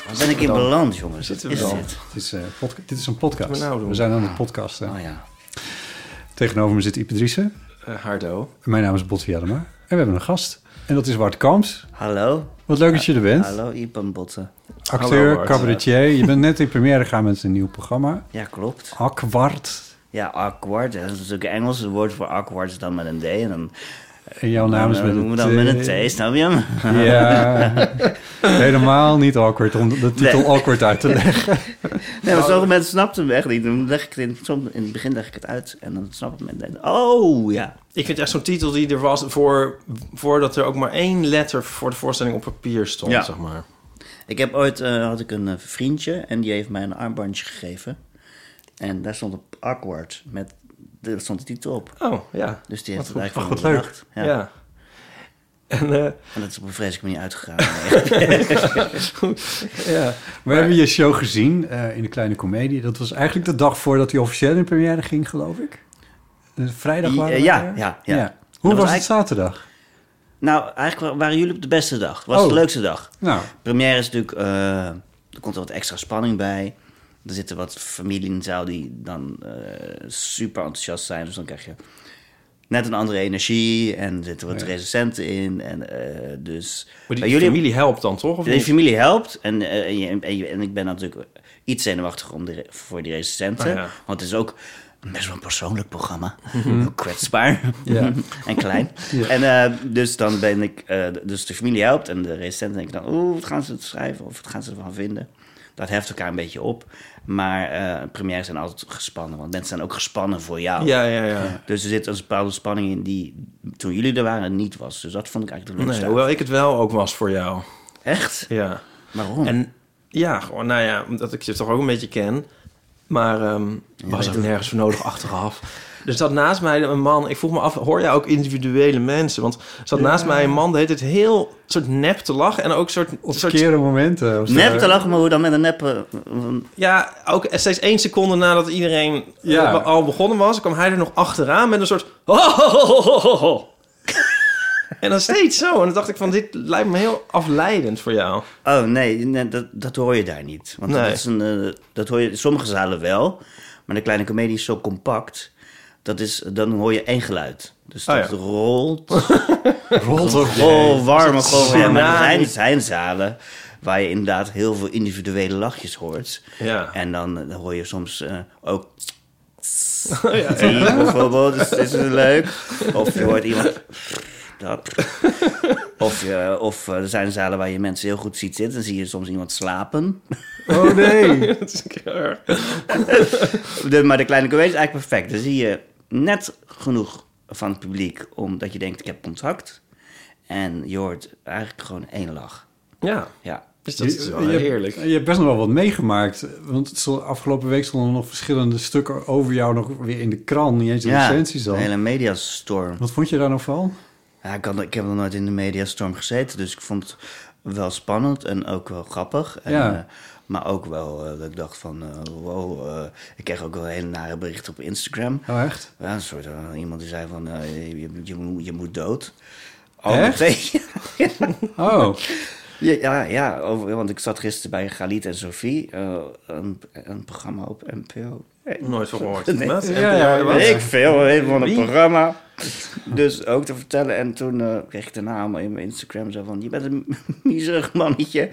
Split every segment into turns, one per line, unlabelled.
Waar ben ik in beland jongens? Wat
Zitten
is
we dan?
dit?
Dit is, eh, podca- dit is een podcast.
Wat we nou doen?
zijn aan het podcasten.
Oh ja.
Tegenover me zit Ipe Driessen.
Eh, hardo.
Mijn naam is Bot Jellema. En we hebben een gast. En dat is Wart Kamps.
Hallo.
Wat leuk dat je er bent.
Hallo Ipan Botten.
Acteur,
Hallo, Bart.
cabaretier. Je bent net in première gegaan met een nieuw programma.
Ja, klopt.
Akwart.
Ja, awkward. Dat is natuurlijk Engels. Het woord voor awkward is dan met een D. En dan
En jouw naam is
Nou, dan
met
noemen we
een
dan
T.
met een T, snap je hem?
Ja, helemaal niet awkward om de titel
Nee.
awkward uit te leggen.
Nee, maar sommige mensen snapten hem echt niet. Dan leg ik het in, soms in het begin leg ik het uit en dan snappen mensen. Oh ja.
Ik vind echt zo'n titel die er was voor, voordat er ook maar één letter voor de voorstelling op papier stond,
Ja.
zeg maar.
Ik heb ooit eh, had ik een eh, vriendje en die heeft mij een armbandje gegeven. En daar stond op awkward met daar stond de titel op.
Oh, ja.
Dus die heeft
Wat
het
goed.
eigenlijk
Wat
wel
leuk.
bedacht.
Ja.
Ja.
En, eh,
En dat is op een vreselijke manier uitgegaan.
Ja. We hebben je show gezien eh, in de Kleine Comedie. Dat was eigenlijk de dag voordat hij officieel in première ging, geloof ik. Eh, Vrijdag
I-
waren we
ja,
er.
ja, ja. Dat
Hoe was,
was
het
eigenlijk-
zaterdag?
nou, eigenlijk wa- waren jullie op de beste dag. Was
Oh.
de leukste dag.
Nou,
Première is natuurlijk, eh, er komt er wat extra spanning bij. Er zitten wat familie in de zaal die dan eh, super enthousiast zijn. Dus dan krijg je net een andere energie en er zitten wat resistenten in. En, eh, dus
maar die
bij jullie-
familie helpt dan toch? Of
De
niet?
familie helpt. En, eh, en, je- en, je- en ik ben natuurlijk iets zenuwachtig om die re- voor die resistenten.
Ah, ja. Mhm.
Want het is ook best wel een persoonlijk programma. Ook Kwetsbaar
Ja.
en klein.
Ja.
En eh, dus dan ben ik... eh, dus de familie helpt en de resistenten denken dan... Oeh, wat gaan ze het schrijven of wat gaan ze ervan vinden? Dat heft elkaar een beetje op. Maar eh premières zijn altijd gespannen. Want mensen zijn ook gespannen voor jou.
Ja, ja, ja.
Dus er zit een bepaalde spanning in die toen jullie er waren niet was. Dus dat vond ik eigenlijk de
Nee,
leukste.
hoewel ik het wel ook was voor jou.
Echt?
Ja.
Waarom?
En ja, gewoon, nou ja, omdat ik je toch ook een beetje ken. Maar ehm, was er nergens voor nodig achteraf. Er zat naast mij een man. Ik vroeg me af, hoor jij ook individuele mensen? Want er zat naast mij een man, die heet het heel soort nep te lachen. En ook soort...
op
soort
verkeerde momenten.
Eh,
was
Nep
er-
te lachen, maar hoe dan met een neppe... een-
ja, ook steeds één seconde nadat iedereen
Ja.
eh, al begonnen was... kwam hij er nog achteraan met een soort... en dan steeds zo. En dan dacht ik van, dit lijkt me heel afleidend voor jou.
Oh nee, nee, dat, dat hoor je daar niet. Want
Nee.
dat, is een, eh, dat hoor je in sommige zalen wel. Maar de kleine comedie is zo compact. Dat is, dan hoor je één geluid. Dus
Oh,
dat
ja.
rolt.
Rolt op je.
Oh, warme golven. Ja, maar er
tsunami?
zijn, er zijn zalen waar je inderdaad heel veel individuele lachjes hoort.
Ja.
En dan, eh, dan hoor je soms eh, ook...
Oh
ja, ja.
Bijvoorbeeld, is, is het leuk? Of je hoort iemand... Dat. Of, je, of eh, er zijn zalen waar je mensen heel goed ziet zitten. Dan zie je soms iemand slapen.
Oh nee.
Dat is een keer erg.
De- maar de kleine comedie is eigenlijk perfect. Dan zie je net genoeg van het publiek omdat je denkt, ik heb contact. En je hoort eigenlijk gewoon één lach.
Ja.
Ja.
Dus dat is wel heerlijk.
Je hebt best nog wel wat meegemaakt. Want het stond- afgelopen week stonden nog verschillende stukken over jou nog weer in de krant. Niet eens in
Ja,
recensies
een
al.
hele mediastorm.
Wat vond je daar nou van?
Ja, ik, had, ik heb nog nooit in de mediastorm gezeten, dus ik vond het wel spannend en ook wel grappig. En,
Ja.
eh, maar ook wel eh, dat ik dacht van, eh, wow, eh, ik kreeg ook wel hele nare berichten op Instagram.
Oh, echt?
Ja, een soort eh, iemand die zei van, eh, je, je, moet- je moet dood. Oh,
Echt?
meteen.
Oh,
Ja, ja, ja over, want ik zat gisteren bij Galit en Sophie, eh, een, een programma op NPO. Eh,
Nooit van gehoord.
Nee.
Wat?
Ja, ja,
NPO,
Wat?
Weet ik veel, een van een
Wie?
programma. Dus ook te vertellen. En toen eh, kreeg ik de naam in mijn Instagram zo van... Je bent een miserig mannetje.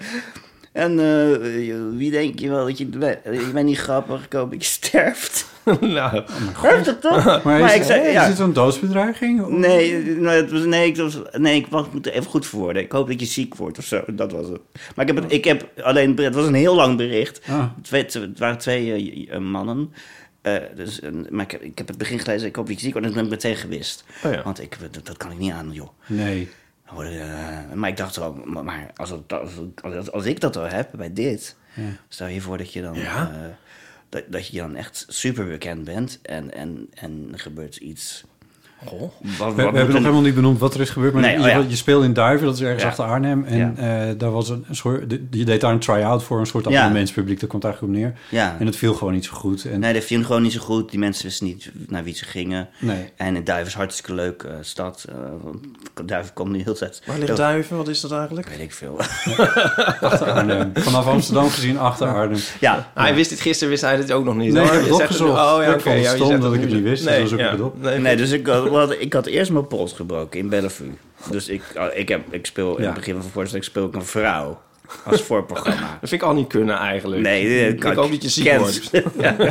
En eh, je- wie denk je wel dat je... bent? Eh, Je bent niet grappig, ik hoop dat je sterft.
nou,
Heeft het toch?
maar, is,
Maar ik zei,
is
ja.
dit een doodsbedreiging?
Nee, nou, het was, nee, ik was, nee, ik was, moet er even goed voor worden. Ik hoop dat je ziek wordt of zo. Dat was het. Maar ik heb, het, ik heb alleen, het was een heel lang bericht.
Oh. Ah.
Twee, twee- het waren twee eh, eh, mannen. Eh, dus, eh, maar ik, heb- ik heb het begin gelezen, ik hoop dat je ziek wordt. En dat ben ik meteen gewist.
Oh ja.
Want ik, dat, dat kan ik niet aan, joh.
Nee.
Dan word ik, eh, maar ik dacht wel, maar- maar als, het, als, als, als ik dat al heb bij dit, stel je voor dat je dan,
Ja.
eh, dat, dat je dan echt super bekend bent en, en, en er gebeurt iets.
Goh.
Wat-
We,
wat
we
moet
hebben nog
een-
helemaal niet benoemd wat er is gebeurd. Maar
Nee,
in ieder
oh ja.
geval, je speelde in Duiven, dat is ergens
Ja.
achter Arnhem. En eh, daar was een soort, de- je deed daar een try-out voor, een soort
Ja.
abonnementspubliek. Dat komt eigenlijk op neer.
Ja.
En het viel gewoon niet zo goed. En,
Nee, dat viel gewoon niet zo goed. Die mensen wisten niet naar wie ze gingen.
Nee.
En in Duiven is hartstikke leuk eh, stad. eh, want Duiven komt nu heel de tijd.
Waar ligt
Dat
Duiven? Wat is dat eigenlijk?
Weet ik veel.
achter Arnhem. Vanaf Amsterdam gezien achter Arnhem.
ja,
Ah, hij wist dit gisteren, wist hij dit ook nog niet.
Nee,
Oh,
ik heb
je
het
zegt het-
opgezocht.
Oh,
Ik
ja,
vond
oké.
het
ja, je
stom
zegt
dat ik het
nu.
niet wist, dus dan zoek ik het op.
Nee,
nee, dus ik had, wat- ik had eerst mijn pols gebroken in Bellevue. Dus ik, ah, ik, heb, ik speel in
Ja.
het begin van de voorstelling speel ik een vrouw als voorprogramma.
Dat vind ik al niet kunnen eigenlijk.
Nee, dat
ik
kan
hoop dat je ziek
kent.
wordt.
Ja.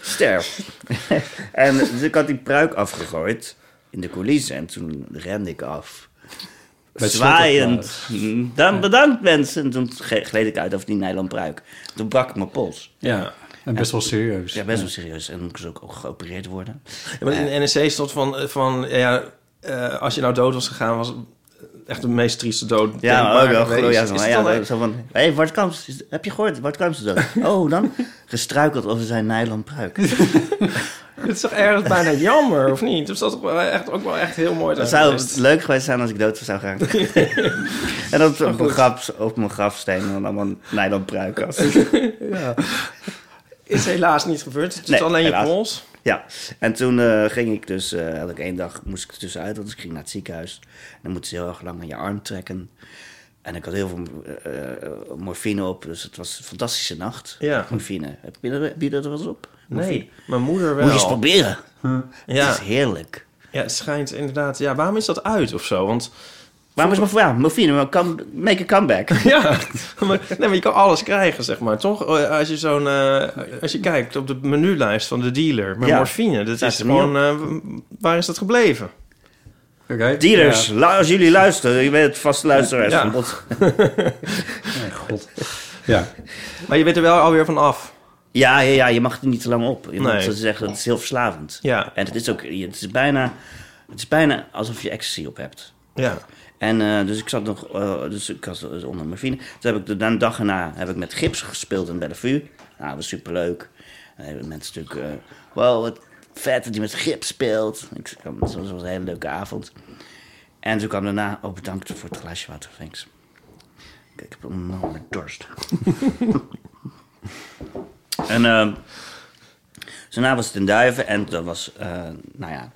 Sterf. en dus ik had die pruik afgegooid in de coulissen en toen rende ik af.
Met
Zwaaiend. Dan bedankt mensen. En toen ge- gleed ik uit over die nylon pruik. Toen brak ik mijn pols.
Ja. En best wel serieus.
Ja, best wel serieus. En moest ik ook geopereerd worden.
Ja, maar in de E NEC stond van, van ja, eh, als je nou dood was gegaan, was echt de meest trieste dood.
Ja, maar ook
denkbaar
wel
geweest.
geloof ja,
Is
zo,
het
maar
dan
ja,
echt-
zo van... Hé, hey, Bart Kamps, is- heb je gehoord? Bart Kamps is dood. Oh, dan? Gestruikeld over zijn nylon pruik.
Het is toch ergens bijna jammer, of niet? Dus dat is toch wel echt, ook wel echt heel mooi.
Dat
zijn
zou
geweest.
leuk geweest zijn als ik dood zou gaan. en dat op mijn, graf, op mijn grafsteen dan allemaal nylon pruikas.
is helaas niet gebeurd. Het is
Nee,
alleen
helaas.
je pols.
ja, en toen eh, ging ik dus, eh, had ik één dag, moest ik er tussenuit, want ik ging naar het ziekenhuis. En dan moeten ze heel erg lang aan je arm trekken. En ik had heel veel eh, eh, morfine op, dus het was een fantastische nacht.
Ja.
Morfine. Heb je, dat- heb je dat er wel eens op?
Nee, mijn moeder wel.
Moet je eens proberen. Het
ja,
is heerlijk.
ja, het schijnt inderdaad. Ja, waarom is dat uit of zo? Want
Waarom is mijn ja, morfine? maar come- Make a comeback.
ja, maar, nee, maar je kan alles krijgen, zeg maar, toch? Eh, Als je zo'n, eh, als je kijkt op de menulijst van de dealer, maar
Ja.
morfine, dat
Staat
is
er niet
gewoon, eh, waar is dat gebleven?
Oké.
Dealers, lu- als jullie luisteren, je bent vaste luisteraars
Ja.
van Bot.
Ja, mijn god. Ja.
Maar je bent er wel alweer van af.
Ja, ja, ja, je mag er niet te lang op. Je moet
Nee.
zo zeggen, het is heel verslavend.
Ja.
En het is ook, het is bijna, het is bijna alsof je ecstasy op hebt.
Ja.
En eh, dus ik zat nog, eh, dus ik was eh, onder morfine. Toen heb ik de, de dag erna heb ik met gips gespeeld in Bellevue. Nou, dat was superleuk. En hebben mensen natuurlijk, eh, wow, wat vet dat je met gips speelt. Ik, zei, "Oh, dat was een hele leuke avond. En toen kwam daarna, oh bedankt voor het glaasje water, thanks. Kijk, ik heb een enorme dorst. en ehm, dus daarna was het in Duiven en dat was, eh, nou ja,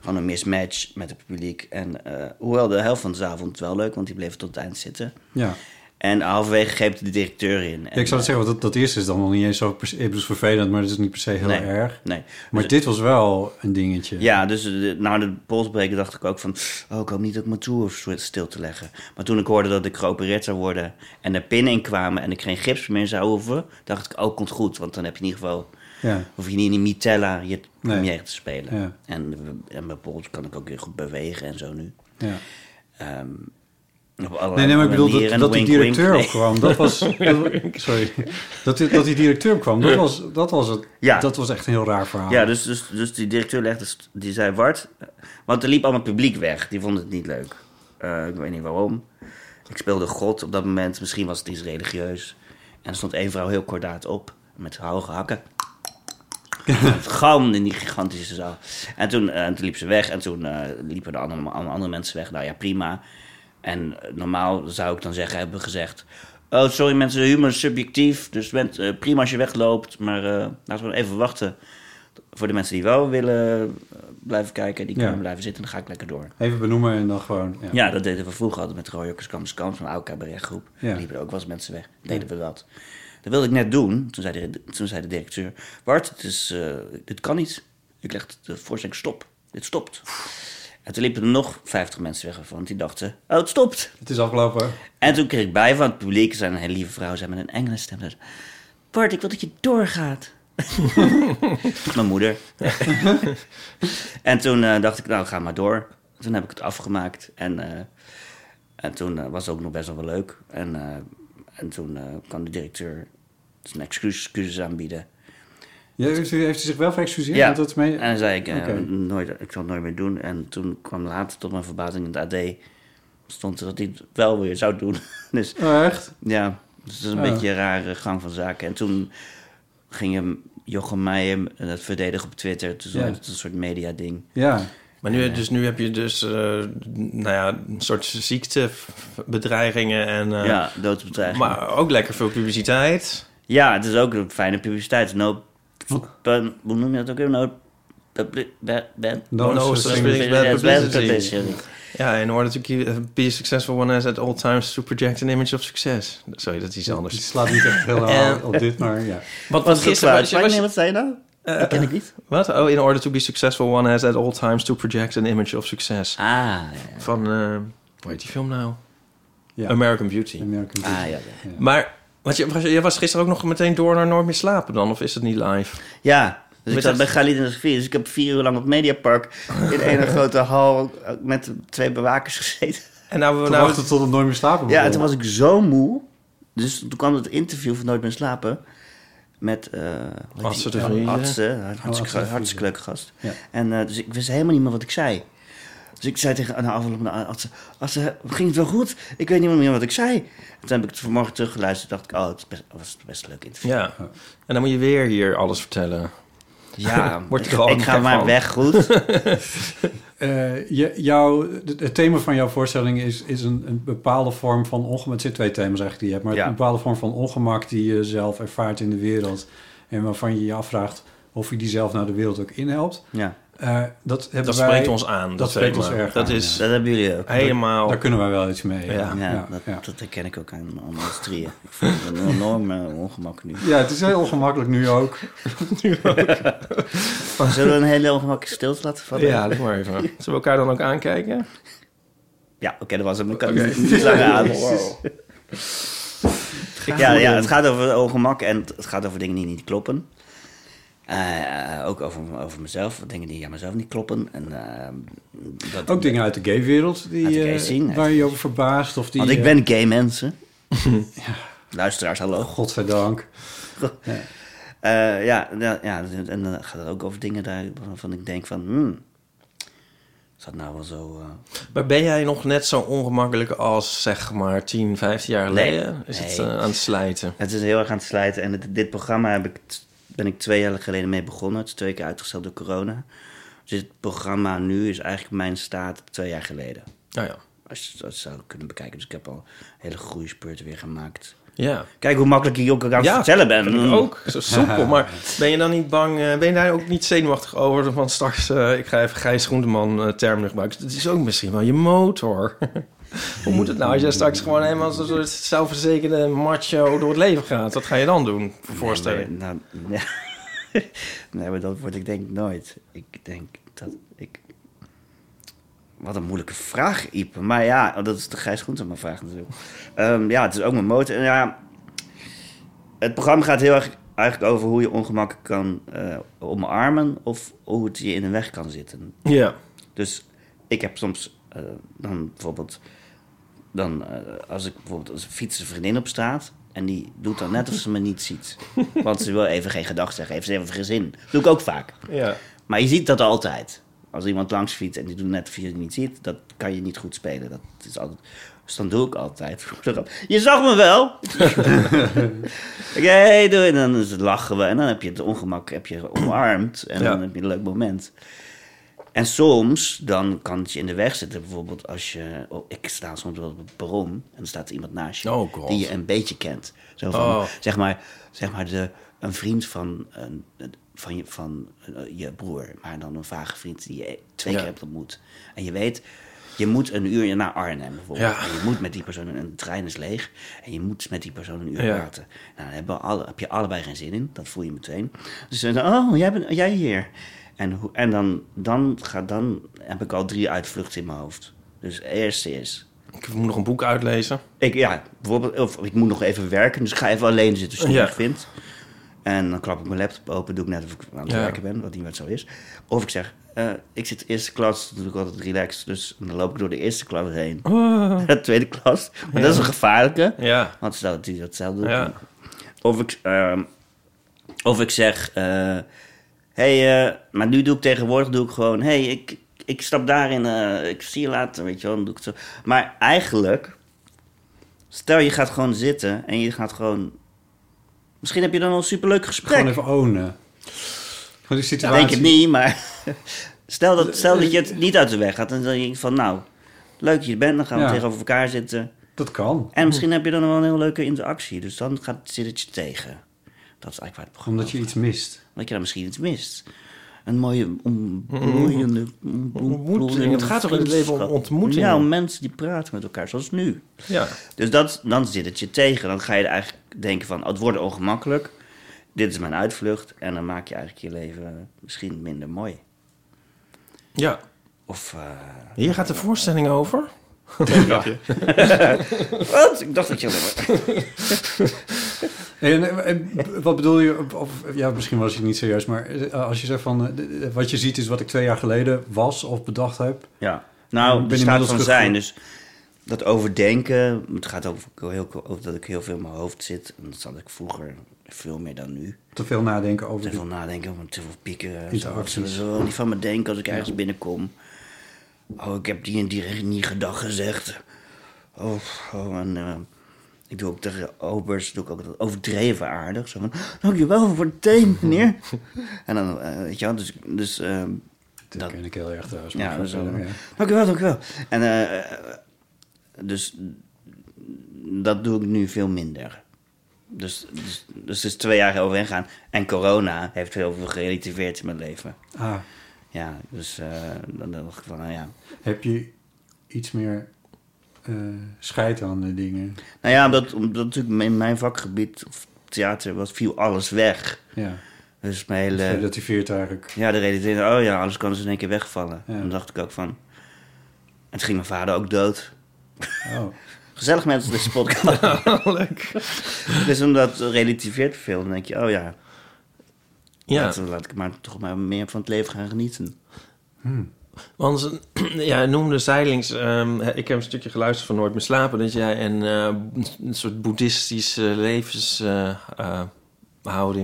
gewoon een mismatch met het publiek. En eh, hoewel de helft van de avond wel leuk, want die bleef tot het eind zitten.
Ja.
En halverwege greep de directeur in.
Ja, ik zou het zeggen, want dat, dat eerste is dan nog niet eens zo per se, ik bedoel, het is vervelend, maar dat is niet per se heel
Nee,
erg.
nee.
Maar
Dus-
dit was wel een dingetje.
Ja, dus eh, na de polsbreken dacht ik ook van... Oh, ik hoop niet dat ik mijn tour hoef stil te leggen. Maar toen ik hoorde dat ik geopereerd zou worden... en er pinnen in kwamen en ik geen gips meer zou hoeven... dacht ik, oh, komt goed. Want dan heb je in ieder geval...
Ja.
hoef je niet in die mitella je
Nee.
première te spelen.
Ja.
En, eh, en mijn pols kan ik ook weer goed bewegen en zo nu.
Ja.
Ehm, op allerlei
Nee, nee, maar ik bedoel
manieren.
dat, dat die
Wink, wink.
directeur
Nee.
kwam. Dat was. dat- sorry. Dat, die- dat die directeur kwam. Dat was, dat was het.
Ja.
Dat was echt een heel raar verhaal.
Ja, dus, dus, dus die directeur legde, st- die zei Wart, want er liep allemaal publiek weg. Die vond het niet leuk. Eh, ik weet niet waarom. Ik speelde God op dat moment. Misschien was het iets religieus. En er stond één vrouw heel kordaat op. Met hoge hakken. Het galmde in die gigantische zaal. En toen, eh, toen liep ze weg. En toen eh, liepen de andere, alle andere mensen weg. Nou ja, prima. En eh, normaal zou ik dan zeggen, hebben gezegd... Oh, sorry mensen, humor is subjectief. Dus bent, eh, prima als je wegloopt. Maar eh, laten we nog even wachten. Voor de mensen die wel willen eh, blijven kijken... die
Ja.
kunnen blijven zitten. Dan ga ik lekker door.
Even benoemen en dan gewoon... Ja.
Ja, dat deden we vroeger altijd met Royokkers Kampers Kamps, een oude cabaretgroep.
Ja.
Ja. liepen er ook wel eens mensen weg. Deden we dat. Dat wilde ik net doen. Toen zei de, toen zei de directeur, Bart, het is, eh, dit kan niet. Ik leg de voorstelling stop. Dit stopt. En toen liepen er nog 50 mensen weg ervan. Die dachten, oh, het stopt.
Het is afgelopen.
En toen kreeg ik bij van het publiek, er zijn een hele lieve vrouw, zei met een Engelse stem. zei ze, Bart, ik wil dat je doorgaat. Mijn moeder. en toen eh, dacht ik, nou ga maar door. Toen heb ik het afgemaakt. En, eh, en toen eh, was het ook nog best wel wel leuk. En, eh, en toen eh, kwam de directeur zijn excuses, excuses aanbieden.
Ja, heeft u heeft u zich wel verexcuseerd?
Ja.
Want Dat mee...
En dan zei ik, eh,
Oké.
nooit, ik zal het nooit meer doen. En toen kwam later tot mijn verbazing in het AD... stond er dat hij het wel weer zou doen. dus
Oh, echt?
ja, dus dat is een
Ja.
beetje een rare gang van zaken. En toen ging hem Jochem Meijer dat verdedigen op Twitter. Toen
Ja.
werd het een soort media-ding.
Ja.
Maar nu, dus, nu heb je dus eh, nou ja, een soort ziektebedreigingen en... eh,
ja, doodsbedreiging.
Maar ook lekker veel publiciteit.
Ja, het is ook een fijne publiciteit. No, hoe noem je dat ook weer? No, publi- be- be-
No such thing
as bad publicity.
publicity.
Ja, in order to keep- eh, be a successful one has at all times to project an image of success. Sorry, dat is iets
Die
anders.
slaat niet echt heel hard
Eh.
op dit, maar ja.
Wat
Wat is het?
gisteren...
Wat
Was, je- was, je-
zei je nou?
Eh,
dat ken ik niet.
wat? Oh, in order to be successful one has at all times to project an image of success.
Ah, ja. ja.
Van, eh hoe heet die film nou?
ja.
American Beauty.
American Beauty.
Ah, ja, ja.
Maar was je, was je- jij was gisteren ook nog meteen door naar Nooit meer slapen dan? Of is het niet live?
Ja, dus
Met
ik zat
dat-
bij Galit in de Sofie. Dus ik heb vier uur lang op het Mediapark in een grote hal eh, met twee bewakers gezeten.
En nou, we
Te
nou,
wachten tot het nooit meer slapen
Ja, en toen
begon.
was ik zo moe. Dus toen kwam het interview van Nooit meer slapen. Met eh, hoe heet
Atze
die?
de Vries.
Atze,
Atze
een
de
hartstikke,
Vries,
hartstikke leuke gast.
Ja.
En eh, dus ik wist helemaal niet meer wat ik zei. Dus ik zei tegen na afloop van Atze, Atze, ging het wel goed? Ik weet niet meer wat ik zei. En toen heb ik het vanmorgen teruggeluisterd en dacht ik, oh, het is best- was het best een leuk interview.
ja. En dan moet je weer hier alles vertellen.
Ja,
Wordt er
ik,
gewoon
ik ga
gek
maar
van.
weg, goed.
Eh, je- jouw, het het thema van jouw voorstelling is, is een, een bepaalde vorm van ongemak. Het zijn twee thema's eigenlijk die je hebt, maar
Ja.
een bepaalde vorm van ongemak die je zelf ervaart in de wereld. En waarvan je je afvraagt of je die zelf naar de wereld ook inhelpt.
Ja,
Eh, dat hebben
Dat
wij,
spreekt ons aan. Dat,
dat spreekt
thema.
ons erg
Dat
aan,
is
dat hebben jullie ook.
helemaal...
Daar kunnen wij wel iets mee.
Ja.
Ja,
ja,
dat,
ja.
dat herken ik ook aan, aan ons drieën. Ik voel een enorme ongemak nu.
Ja, het is heel ongemakkelijk nu ook.
Zullen we een hele ongemakkelijke stilte laten vallen?
Ja, doe maar even. Zullen we elkaar dan ook aankijken?
Ja, oké, dat was hem. Ik kan het niet langer aan. Ja, ja, het gaat over ongemak en het- het gaat over dingen die niet kloppen. Eh, ook over, over mezelf, dingen die aan mezelf niet kloppen. En, eh, dat,
Ook dingen uit de gaywereld die,
Uit de
eh,
gay scene,
waar
uit-
je je over verbaast. Of die,
want ik
eh,
ben gay, mensen. Luisteraars, hallo.
Godzijdank.
Eh, ja, ja, ja, en dan gaat het ook over dingen daar waarvan ik denk van... Hmm, is dat nou wel zo... eh,
Maar ben jij nog net zo ongemakkelijk als zeg maar 10, 15 jaar
Nee.
geleden? Is het
Nee.
eh, aan het slijten?
Het is heel erg aan het slijten. En het- dit programma heb ik, t- ben ik twee jaar geleden mee begonnen. Het is twee keer uitgesteld door corona. Dus dit programma nu is eigenlijk mijn staat twee jaar geleden.
Nou ja.
Als je dat zou kunnen bekijken. Dus ik heb al een hele groeispurt weer gemaakt.
Ja.
Kijk hoe makkelijk ik ook aan het
Ja,
vertellen ben.
Ik ook, zo soepel. Maar ben je dan niet bang, eh, ben je daar ook niet zenuwachtig over? Want straks, eh, ik ga even Gijs Groenteman eh, term nu gebruiken. Het is ook misschien wel je motor. Hoe moet het nou als jij straks gewoon helemaal als een soort zelfverzekerde macho door het leven gaat? Wat ga je dan doen voor voorstelling?
Nee, maar, nou, nee. nee, maar dat word ik denk ik nooit. Ik denk dat ik... Wat een moeilijke vraag, Iep. Maar ja, oh, dat is de Gijs Groenteman vraag natuurlijk. Ehm, ja, het is ook mijn motor. En ja, het programma gaat heel erg eigenlijk over hoe je ongemakken kan eh, omarmen... of hoe het je in de weg kan zitten.
Ja.
Dus ik heb soms eh, dan bijvoorbeeld... Dan, eh, als ik bijvoorbeeld als fiets een vriendin op straat... en die doet dan net of ze me niet ziet. Want ze wil even geen gedag zeggen, heeft ze even geen zin. doe ik ook vaak.
ja.
Maar je ziet dat altijd. Als er iemand langs fietst en die doet net of je het niet ziet, dat kan je niet goed spelen. Dat is altijd... Dus dan doe ik altijd. Je zag me wel! Oké, doei. En dan is het lachen we. En dan heb je het ongemak heb je omarmd. En
Ja.
dan heb je een leuk moment. En soms, dan kan het je in de weg zitten. Bijvoorbeeld als je... oh, ik sta soms wel op het perron. En dan staat er iemand naast je.
Oh, God.
die je een beetje kent. Zo van,
Oh.
zeg maar, zeg maar de, een vriend van, een, van, je, van eh, je broer. Maar dan een vage vriend die je twee
Ja.
keer hebt ontmoet. En je weet... Je moet een uur naar Arnhem bijvoorbeeld.
Ja.
En je moet met die persoon... En de trein is leeg. En je moet met die persoon een uur
Ja.
praten. Nou, daar hebben we alle, heb je allebei geen zin in. Dat voel je meteen. Dus ze zeggen, oh, jij, bent, jij hier. En, hoe- en dan, dan, ga, dan heb ik al drie uitvluchten in mijn hoofd. Dus eerst is...
Ik moet nog een boek uitlezen.
Ik, ja, bijvoorbeeld, of ik moet nog even werken, dus ik ga even alleen zitten als ik
Ja.
het vind. En dan klap ik mijn laptop open, doe ik net of ik aan het
Ja.
werken ben, wat niet meer zo is. Of ik zeg, eh, ik zit eerste klas, dan doe ik altijd relaxed. Dus dan loop ik door de eerste klas heen.
Oh.
De tweede klas, maar dat is een gevaarlijke.
Ja.
Want stel dat hij datzelfde doet.
Ja.
Of, ik, ehm, of ik zeg, eh, hey, eh, maar nu doe ik tegenwoordig doe ik gewoon, hey, ik, ik stap daarin, eh, ik zie je later, weet je wel, dan doe ik het zo. Maar eigenlijk, stel je gaat gewoon zitten en je gaat gewoon, misschien heb je dan al een superleuk gesprek.
Gewoon even ownen. Gewoon die
Ik
situatie. Eh,
denk het niet, maar stel dat, stel dat je het niet uit de weg gaat en dan denk je van, nou, leuk dat je er bent, dan gaan we
Ja. Mhm.
tegenover elkaar zitten.
Dat kan.
En misschien heb je dan wel een heel leuke interactie. Dus dan gaat, zit het je tegen. Dat is eigenlijk waar het programma
Omdat je iets mist.
Dat je dan misschien iets mist. Een mooie ontmoedigende...
Ontmoeting. Het gaat toch in het leven om ontmoetingen?
Ja, om mensen die praten met elkaar, zoals nu.
Ja.
Dus dat, dan zit het je tegen. Dan ga je er eigenlijk denken van, oh, het wordt ongemakkelijk. Dit is mijn uitvlucht. En dan maak je eigenlijk je leven misschien minder mooi.
ja.
Of... eh,
Hier gaat de voorstelling over.
Wat? Ik dacht dat je... alleen maar-
En, eh, en wat bedoel je, of- of, ja, misschien was je niet serieus, maar eh, als je zegt van eh, d- d- wat je ziet is wat ik twee jaar geleden was of bedacht heb.
Ja.
Ik
Nou,
ben
het staat
inmiddels
van
teruggegroeid.
zijn. Dus dat overdenken. Het gaat ook heel, over dat ik heel veel in mijn hoofd zit. En dat zat ik vroeger veel meer dan nu.
Te veel nadenken over
Te
dit.
veel nadenken, om te veel pieken. en Zo.
Interacties.
Ze zullen wel niet van me denken als ik ergens binnenkom. Oh, ik heb die en die niet gedag gezegd. Oh, oh, en eh, ik doe ook tegen obers doe ik ook dat overdreven aardig. Zo van, dankjewel voor het thee, meneer. en dan, eh, weet je wel, dus... dus eh,
Dat ken ik heel erg trouwens.
ja,
maar
dat is wel.
verder, eh, ja.
Dankjewel, dankjewel. En eh, eh, dus dat doe ik nu veel minder. Dus, dus, dus het is twee jaar overheen gegaan. En corona heeft heel veel gerelativeerd in mijn leven.
Ah,
Ja, dus eh, dan dacht ik van, nou ja.
heb je iets meer eh scheid aan de dingen?
Nou ja, omdat, omdat natuurlijk in mijn vakgebied, of theater, was, viel alles weg.
Ja,
Dus mijn
dat
hele...
relativeert eigenlijk.
Ja, de realiseerde, oh ja, alles kan dus in één keer wegvallen.
Ja.
En dan dacht ik ook van... En toen ging mijn vader ook dood.
Oh.
Gezellig mensen, deze podcast.
Oh, Leuk.
Dus omdat het relativeert veel, dan denk je, oh ja,
Ja.
laat, laat ik maar toch maar meer van het leven gaan genieten.
Want eh, ja, hij noemde zijlings, ehm, ik heb een stukje geluisterd van Nooit meer slapen, dat jij een, eh, een soort boeddhistische levenshouding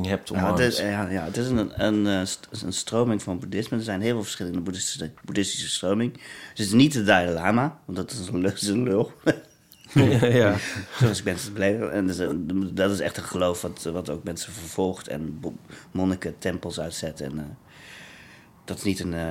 hebt
Nou,
omarmd.
het is, ja, ja, het is een, een, eh, st- een stroming van boeddhisme. Er zijn heel veel verschillende boeddhistische, boeddhistische stromingen. Dus het is niet de Dalai Lama, want dat is een lul. Is een lul.
ja, ja.
Zoals ik mensen beleven. En dus, eh, dat is echt een geloof wat, wat ook mensen vervolgt en bo- monniken tempels uitzet. En, eh, dat is niet een. eh,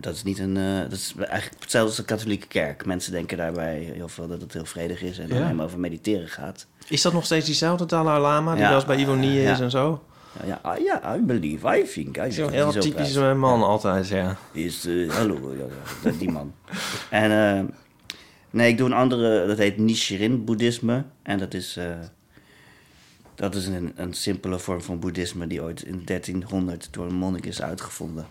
dat is niet een. eh, dat is eigenlijk hetzelfde als de katholieke kerk. Mensen denken daarbij heel veel dat het heel vredig is en
Ja.
dan helemaal over mediteren gaat.
Is dat nog steeds diezelfde Dalai Lama die
Ja,
was bij Ivonie
eh,
is
ja.
en zo?
Ja, ja, ah, ja, I believe, I think. I
Zo'n
think
heel
is ook
typisch
raar.
eh, man altijd, ja.
Is, eh, hallo, ja, ja, die man. En eh, nee, ik doe een andere, dat heet Nichiren boeddhisme. En dat is, eh, dat is een, een simpele vorm van boeddhisme die ooit in 1300 door een monnik is uitgevonden.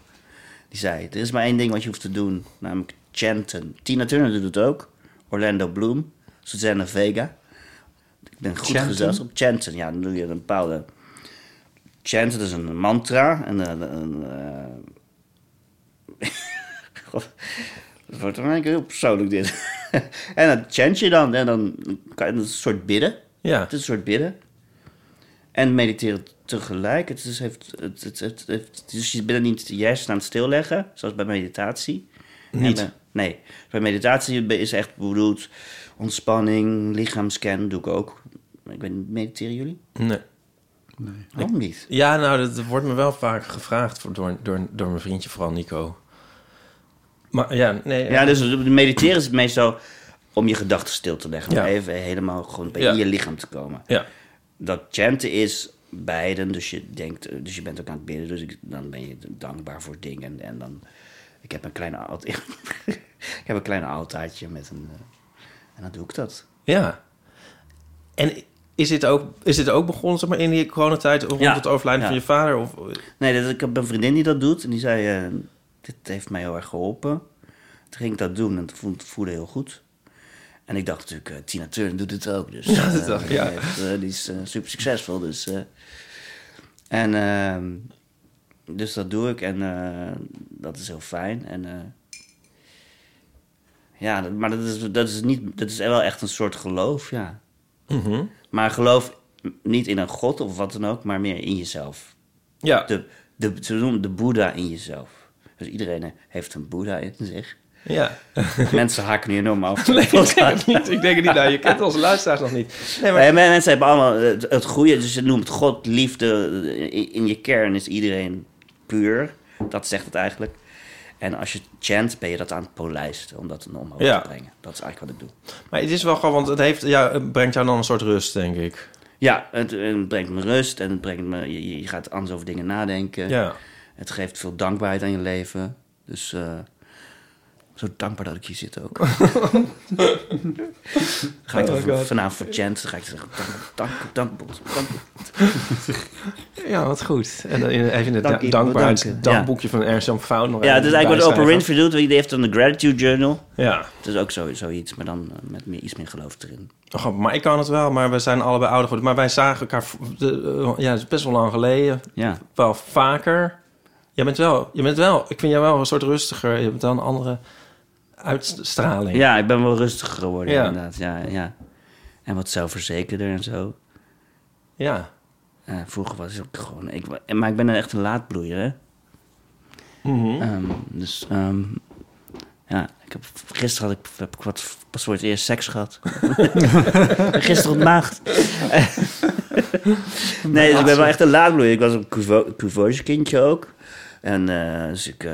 Die zei, er is maar één ding wat je hoeft te doen, namelijk chanten. Tina Turner doet het ook, Orlando Bloom, Susanna Vega. Ik ben goed
Chanten?
gezelschap. Chanten, ja, dan doe je een bepaalde... Chanten is een mantra, en een, een, eh, God, het wordt dan eigenlijk heel persoonlijk dit. en dan chant je dan en dan kan je een soort bidden.
Ja,
Het is een soort bidden. en mediteren tegelijk. Het is, heeft, het, het, het, het- dus je bent niet je hersenen aan het stilleggen, zoals bij meditatie.
Niet.
En, eh, nee, bij meditatie is echt bedoeld ontspanning, lichaamscan doe ik ook. Ik weet niet, mediteren jullie?
Nee.
Waarom niet?
Ja, nou, dat wordt me wel vaak gevraagd voor, door, door, door mijn vriendje, vooral Nico. Maar ja, nee.
Ja, dus mediteren is meestal om je gedachten stil te leggen.
Ja.
maar Even helemaal gewoon bij
Ja.
in je lichaam te komen.
Ja.
dat chanten is beiden. Dus je denkt, eh, dus je bent ook aan het bidden. Dus ik- dan ben je dankbaar voor dingen. En dan, ik heb een kleine alt- ik heb een klein altaartje met een, eh, en dan doe ik dat.
Ja. En is dit ook, is dit ook begonnen zeg maar, in die coronatijd rond
Ja.
het overlijden
Ja.
van je vader? Of,
Nee, dat, ik heb een vriendin die dat doet en die zei, eh, dit heeft mij heel erg geholpen. Toen ging ik dat doen en het voelde, voelde heel goed. En ik dacht natuurlijk, eh, Tina Turner doet het ook. Dus,
Ja, dat
eh,
dacht ik,
die
ja.
heeft, eh, die is eh, super succesvol. Dus, eh, en, eh, dus dat doe ik en eh, dat is heel fijn. En, eh, ja, dat- maar dat is, dat, is niet, dat is wel echt een soort geloof, ja.
Mhm.
Maar geloof niet in een god of wat dan ook, maar meer in jezelf
ja.
de, de, ze noemen het de Boeddha in jezelf. Dus iedereen heeft een Boeddha in zich.
ja.
Mensen haken nu enorm af.
Nee, ik denk het niet. Ik denk het niet. Nou, je kent onze luisteraars nog niet. Nee, maar,
Eh, men- mensen hebben allemaal het, het goede, dus ze noemt het God, liefde. eh, In, in je kern is iedereen puur. Dat zegt het eigenlijk. En als je chant, ben je dat aan het polijsten om dat omhoog
Ja.
te brengen. Dat is eigenlijk wat ik doe.
maar het is wel gewoon, want het, heeft, ja, het brengt jou dan een soort rust, denk ik.
Ja, het, het brengt me rust en het brengt me, je, je gaat anders over dingen nadenken.
Ja.
Het geeft veel dankbaarheid aan je leven. Dus eh, zo dankbaar dat ik hier zit ook. ga ik
Oh
er
my God.
vanavond voor chant, dan ga ik zeggen dank, dank, dank, dank.
Ja, wat goed. En dan in- even in
Dank
het da-
je, bedankt.
dankbaarheidsdagboekje van Ernst Jan Fout nog
Ja,
even
dat is eigenlijk wat
bijschrijven.
Oprah Winfrey doet. Die heeft dan de Gratitude Journal.
Ja.
Het is ook zo, zoiets, maar dan eh, met meer, iets meer geloof erin.
Oh, maar ik kan het wel, maar we zijn allebei ouder geworden. Maar wij zagen elkaar, v- de, eh, ja, het is best wel lang geleden.
Ja.
Wel vaker. Jij bent wel, je bent wel, ik vind jou wel een soort rustiger. Je hebt wel een andere uitstraling.
ja, ik ben wel rustiger geworden
Ja.
inderdaad. Ja, ja. En wat zelfverzekerder en zo.
Ja.
Eh, vroeger was ik gewoon... Ik, wa- maar ik ben echt een laadbloeier, hè.
Mhm.
Ehm, dus ehm, ja, ik heb, gisteren had ik, heb ik wat, pas voor het eerst seks gehad. gisteren op maagd. nee, dus ik ben wel echt een laadbloeier. Ik was een cuvo- cuvoge kindje ook. En eh, dus ik... eh,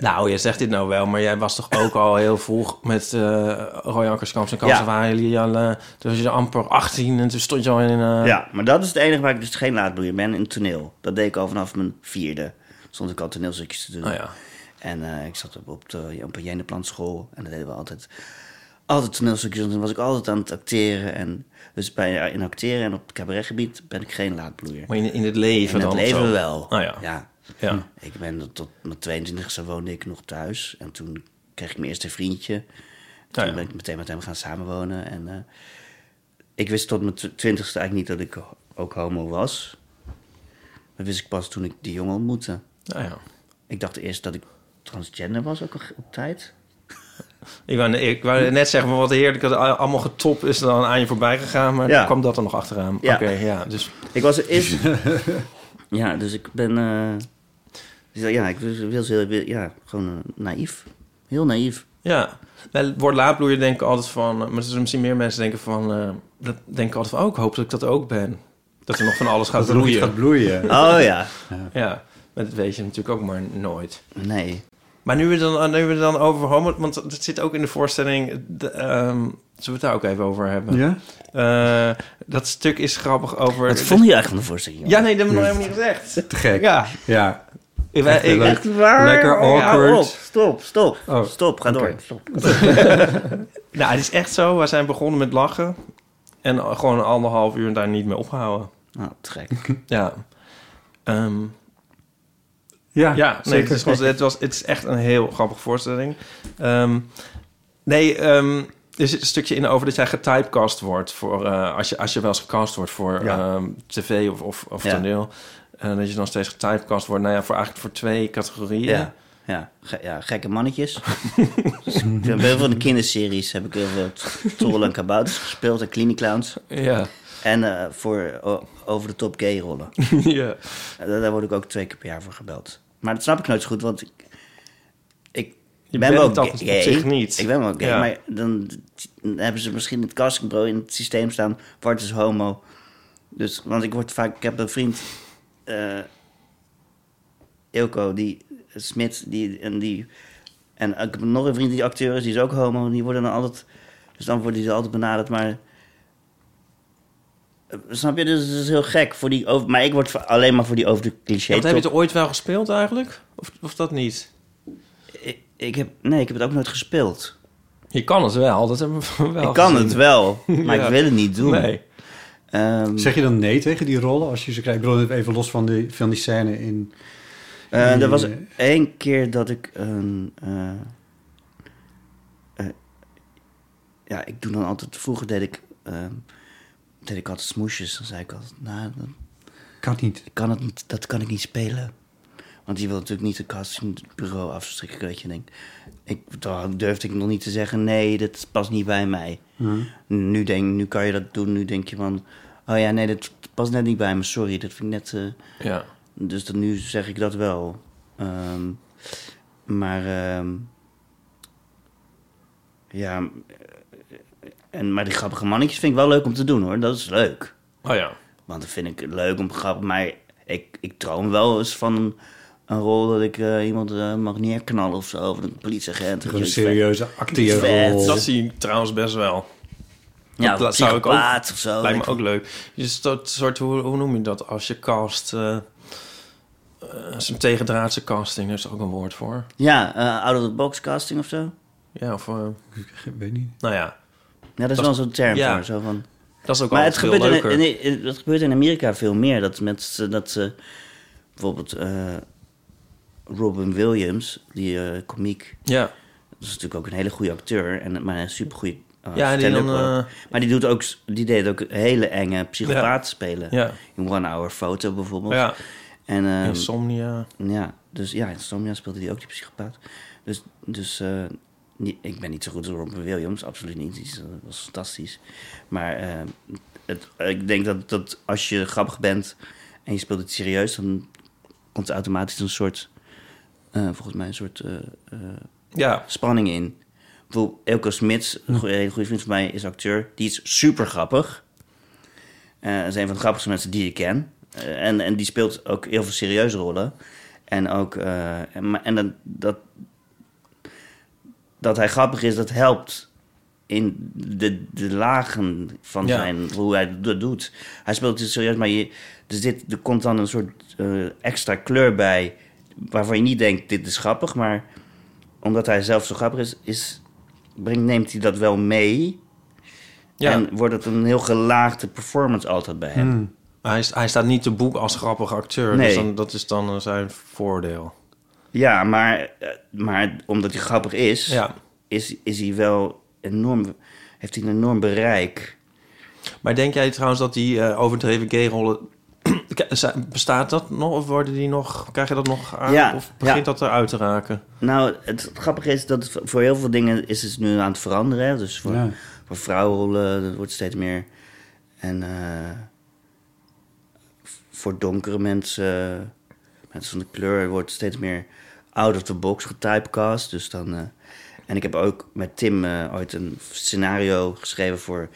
Nou, je zegt dit nou wel, maar jij was toch ook al heel vroeg met eh Roy Ankerskamp en Kansen
Ja.
waren jullie al, eh, toen was je amper 18 en toen stond je al in... eh,
Ja, maar dat is het enige waar ik dus geen laadbloeier ben in het toneel. Dat deed ik al vanaf mijn vierde. Stond ik al toneelstukjes te doen.
Oh ja.
En eh, ik zat op, op, de, op een Jeneplantschool en dat deden we altijd. Altijd toneelstukjes, en toen was ik altijd aan het acteren. En, dus bij, in acteren en op het cabaretgebied ben ik geen laadbloeier.
Maar in, in het leven
in
dan
het
of
leven
zo.
wel.
Ah ja.
ja.
Ja.
Ik ben tot mijn 22e woonde ik nog thuis. En toen kreeg ik mijn eerste vriendje. Toen
Ah ja.
ben ik meteen met hem gaan samenwonen. En eh, ik wist tot mijn tw- 20e eigenlijk niet dat ik ho- ook homo was. Dat wist ik pas toen ik die jongen ontmoette.
Nou ja.
Ik dacht eerst dat ik transgender was ook nog op tijd.
Ik wou, ik wou net zeggen, maar wat heerlijk dat al- allemaal getop is dan aan je voorbij gegaan, maar
Ja.
dan kwam dat er nog achteraan.
Ja.
Oké, ja. Dus
Ik was er eerst... ja, dus ik ben... eh, dus ja, ik was- was heel, ja, gewoon eh, naïef. Heel naïef.
ja, bij het woord laadbloeier denk ik altijd van, eh, maar er zijn misschien meer mensen denken van, eh, dat denken altijd van, oh, ik hoop dat ik dat ook ben. Dat er nog van alles gaat
Dat het niet
bloeien.
gaat bloeien.
Oh ja.
Ja, maar dat weet je natuurlijk ook maar nooit.
Nee.
Maar nu we dan, eh, nu we dan over homo... Want dat zit ook in de voorstelling... De, ehm, zullen we het daar ook even over hebben?
Ja?
Eh, dat stuk is grappig over...
Wat vond je eigenlijk van de voorstelling? jongen?
Ja, nee, dat hebben we nog helemaal niet gezegd.
Te gek.
Ja.
Ja.
Ik, wij-
heel
ik-
leuk.
Echt waar?
Lekker
Oh, ja,
awkward.
op. Stop, stop.
Oh,
Stop, ga door.
oké.
Stop.
nou, het is echt zo. We zijn begonnen met lachen. En gewoon anderhalf uur daar niet mee opgehouden.
Nou, te gek.
Ja. Ehm,
Ja,
ja, nee, Het, is, gewoon- het, was, het is echt een heel grappige voorstelling. Ehm, nee, ehm, er zit een stukje in over dat jij getypecast wordt voor eh, als, je, als je wel eens gecast wordt voor ehm, tv of, of, of
Ja.
toneel. eh, dat je dan steeds getypecast wordt. Nou ja, voor eigenlijk voor twee categorieën.
Ja. Ja, ge- ja, gekke mannetjes. Dus ik heb heel veel van de kinderseries heb ik heel veel t- Trollen en Kabouters gespeeld en Cliniclowns.
ja.
En eh, voor o- over de top gay rollen.
ja.
Eh, daar, daar word ik ook twee keer per jaar voor gebeld. Maar dat snap ik nooit zo goed, want ik, ik
Je
ben
bent
wel
het al op
gay.
zich niet.
Ik ben wel gay,
Ja.
maar dan hebben ze misschien het castingbureau in het systeem staan. Wart is homo. Dus, want ik word vaak... Ik heb een vriend, eh Ilko, die Smit, die, en die... En ik heb nog een vriend die acteur is, die is ook homo. En die worden dan altijd... Dus dan worden die altijd benaderd, maar... eh, Snap je? Dus het is heel gek. Voor die over, maar ik word voor- alleen maar voor die over de cliché.
Want heb je
top-
het ooit wel gespeeld eigenlijk? Of, of dat niet?
ik, ik heb, nee, ik heb het ook nooit gespeeld.
Je kan het wel, dat hebben we wel
ik kan
gezien.
het wel, maar
Ja.
ik wil het niet doen.
Nee.
Ehm,
Zeg je dan nee tegen die rollen als je ze krijgt? Ik bedoel, even los van die, van die scène in...
eh, er was
eh,
één keer dat ik een... eh, eh, ja, ik doe dan altijd... Vroeger deed ik, ehm, deed ik altijd smoesjes. Dan zei ik altijd, nou, dat
Kan niet.
kan, het, niet- dat kan ik niet spelen. Want die wil natuurlijk niet de castingbureau afstrikken dat je denkt. Ik, dan durfde ik nog niet te zeggen, nee, dat past niet bij mij. Nu, denk, nu kan je dat doen, nu denk je van... Oh ja, nee, dat past net niet bij me, sorry. Dat vind ik net... eh,
Ja.
dus dat, nu zeg ik dat wel. Ehm, maar... ehm, ja... eh, En, maar die grappige mannetjes vind ik wel leuk om te doen, hoor. Dat is leuk.
Oh ja.
Want dat vind ik leuk om grappig. Maar ik, ik droom wel eens van een, een rol dat ik eh, iemand eh, mag neerknallen of zo. Of een politieagent.
Gewoon een
Iets vet.
serieuze acteerrol.
Dat zie ik trouwens best wel.
Ja,
dat
dat
zou ik ook-
of zo.
Lijkt me
weet
ook leuk. Dus dat soort, hoe, hoe noem je dat als je cast... eh eh, Zo'n tegendraadse casting, daar is ook een woord voor.
je. Ja, eh out of the box casting of zo.
Ja, of... eh,
Ik weet niet.
nou ja,
Ja, dat is
Dat-
wel zo'n term
ja.
voor. Zo van,
dat is ook
maar
altijd
het gebeurt,
veel
in,
leuker.
in, in- dat gebeurt in Amerika veel meer. Dat, met, ze- dat ze bijvoorbeeld eh, Robin Williams, die eh komiek,
Ja.
dat is natuurlijk ook een hele goede acteur, en, maar een supergoeie eh,
Ja, en die dan,
stand-up ook.
eh,
Maar die, doet ook, s- die deed ook hele enge psychopaat spelen.
Ja.
In One Hour Photo bijvoorbeeld.
ja,
En, ehm,
insomnia.
ja, dus ja, in Somnia speelde hij ook die psychopaat. Dus, dus eh, niet- ik ben niet zo goed als Robin Williams, absoluut niet. Die is, eh, was fantastisch. Maar eh, het, ik denk dat, dat als je grappig bent en je speelt het serieus, dan komt er automatisch een soort, eh, volgens mij, een soort eh, eh,
Ja,
spanning in. Ik bedoel, Elko Smits, een goeie- hele goede vriend van mij, is acteur. Die is super grappig. Eh, dat is een van de grappigste mensen die ik ken. Eh, en, en die speelt ook heel veel serieuze rollen. En ook... eh, en, maar- en dat, dat... Dat hij grappig is, dat helpt in de, de lagen van
Ja.
zijn... Hoe hij dat doet. Hij speelt het serieus, maar je, er, zit, er komt dan een soort eh, extra kleur bij... Waarvan je niet denkt, dit is grappig, maar omdat hij zelf zo grappig is, is brengt, neemt hij dat wel mee.
ja. Hmm.
En wordt het een heel gelaagde performance altijd bij hem.
Maar hij, hij staat niet te boek als grappig acteur.
Nee.
Dus dan, dat is dan eh, zijn voordeel.
Ja, maar, eh, maar omdat hij grappig is,
Ja.
is, is hij wel enorm, heeft hij een enorm bereik.
Maar denk jij trouwens dat die eh, overdreven gay-rollen... K- zijn- Bestaat dat nog? Of worden die nog, krijg je dat nog aan?
Ja,
of begint
ja.
dat eruit te raken?
Nou, het grappige is dat het voor heel veel dingen is het nu aan het veranderen. hè. Dus voor,
Ja.
voor vrouwenrollen, dat wordt steeds meer. En eh, v- voor donkere mensen, mensen van de kleur, wordt steeds meer out of the box getypecast. Dus dan, eh, en ik heb ook met Tim eh, ooit een scenario geschreven voor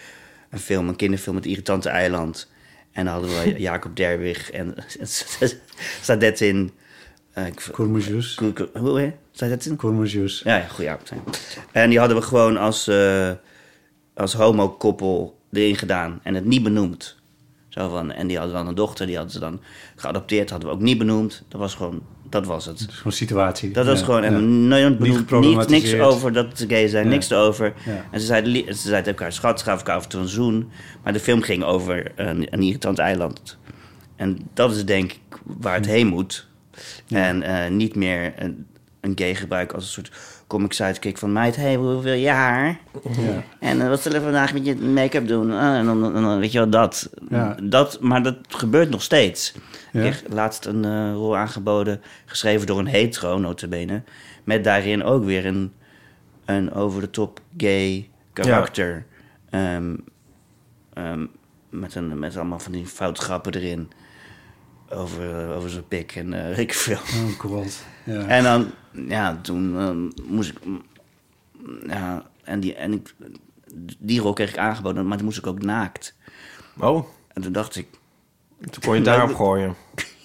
een film, een kinderfilm, Het Irritante Eiland. En daar hadden we Jacob Derwig en staat dat in. eh, ik-
Cormujus.
Koe- koe- Hoe hè? Zei dat in?
Cormujus.
Ja, ja goede avond. En die hadden we gewoon als, eh als homokoppel erin gedaan en het niet benoemd. Zo van, en die hadden dan een dochter, die hadden ze dan geadopteerd, hadden we ook niet benoemd. Dat was gewoon, dat was het.
Dat is gewoon situatie.
Dat was
Ja,
gewoon, en
ja.
nooit benoemd, niet, niks
geproblematiseerd.
over dat ze gay zijn,
Ja.
niks over.
Ja.
En ze zeiden, li- ze zeiden tegen elkaar, schat, ze gaven elkaar af en toe een zoen. Maar de film ging over een, een irritant eiland. En dat is denk ik waar
Hm.
het heen moet. En eh, niet meer een, een gay gebruik als een soort comic sidekick van... meid, hey, hoe wil je haar?
Ja.
En eh, wat zullen we vandaag met je make-up doen? Ah, en dan, dan- dan- weet je wel, dat.
Ja.
dat. Maar dat gebeurt nog steeds.
Ja.
Ik kreeg laatst een eh, rol aangeboden, geschreven door een hetero, notabene. Met daarin ook weer een, een over-de-top gay karakter. Ehm, ehm, Met, een, met allemaal van die foutgrappen erin. Over, over zijn pik en eh weet ik veel.
Oh god. Ja.
En dan, ja, toen eh, moest ik. mm, Ja, en die, en ik, die rol kreeg ik aangeboden, maar toen moest ik ook naakt.
Oh,
En toen dacht ik,
toen kon je het daarop
Maar-
gooien.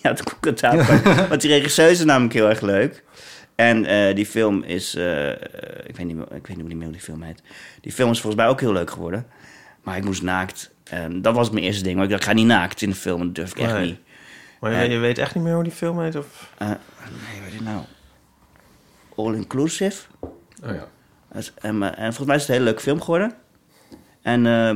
ja, toen kon ik het aanpakken. Want die regisseur is namelijk heel erg leuk. En eh, die film is, eh, eh, ik, weet niet, meer- ik weet niet meer hoe die film heet. Die film is volgens mij ook heel leuk geworden. Maar ik moest naakt. En dat was mijn eerste ding. Maar ik dacht, ik ga niet naakt in de film. Dat durf ik echt
Nee.
niet.
Maar je,
Ja.
weet- je weet echt niet meer hoe die film heet? Of...
Eh, nee, wat is het nou? All Inclusive.
Oh ja.
Het- En, eh, en volgens mij is het een hele leuke film geworden. En, eh,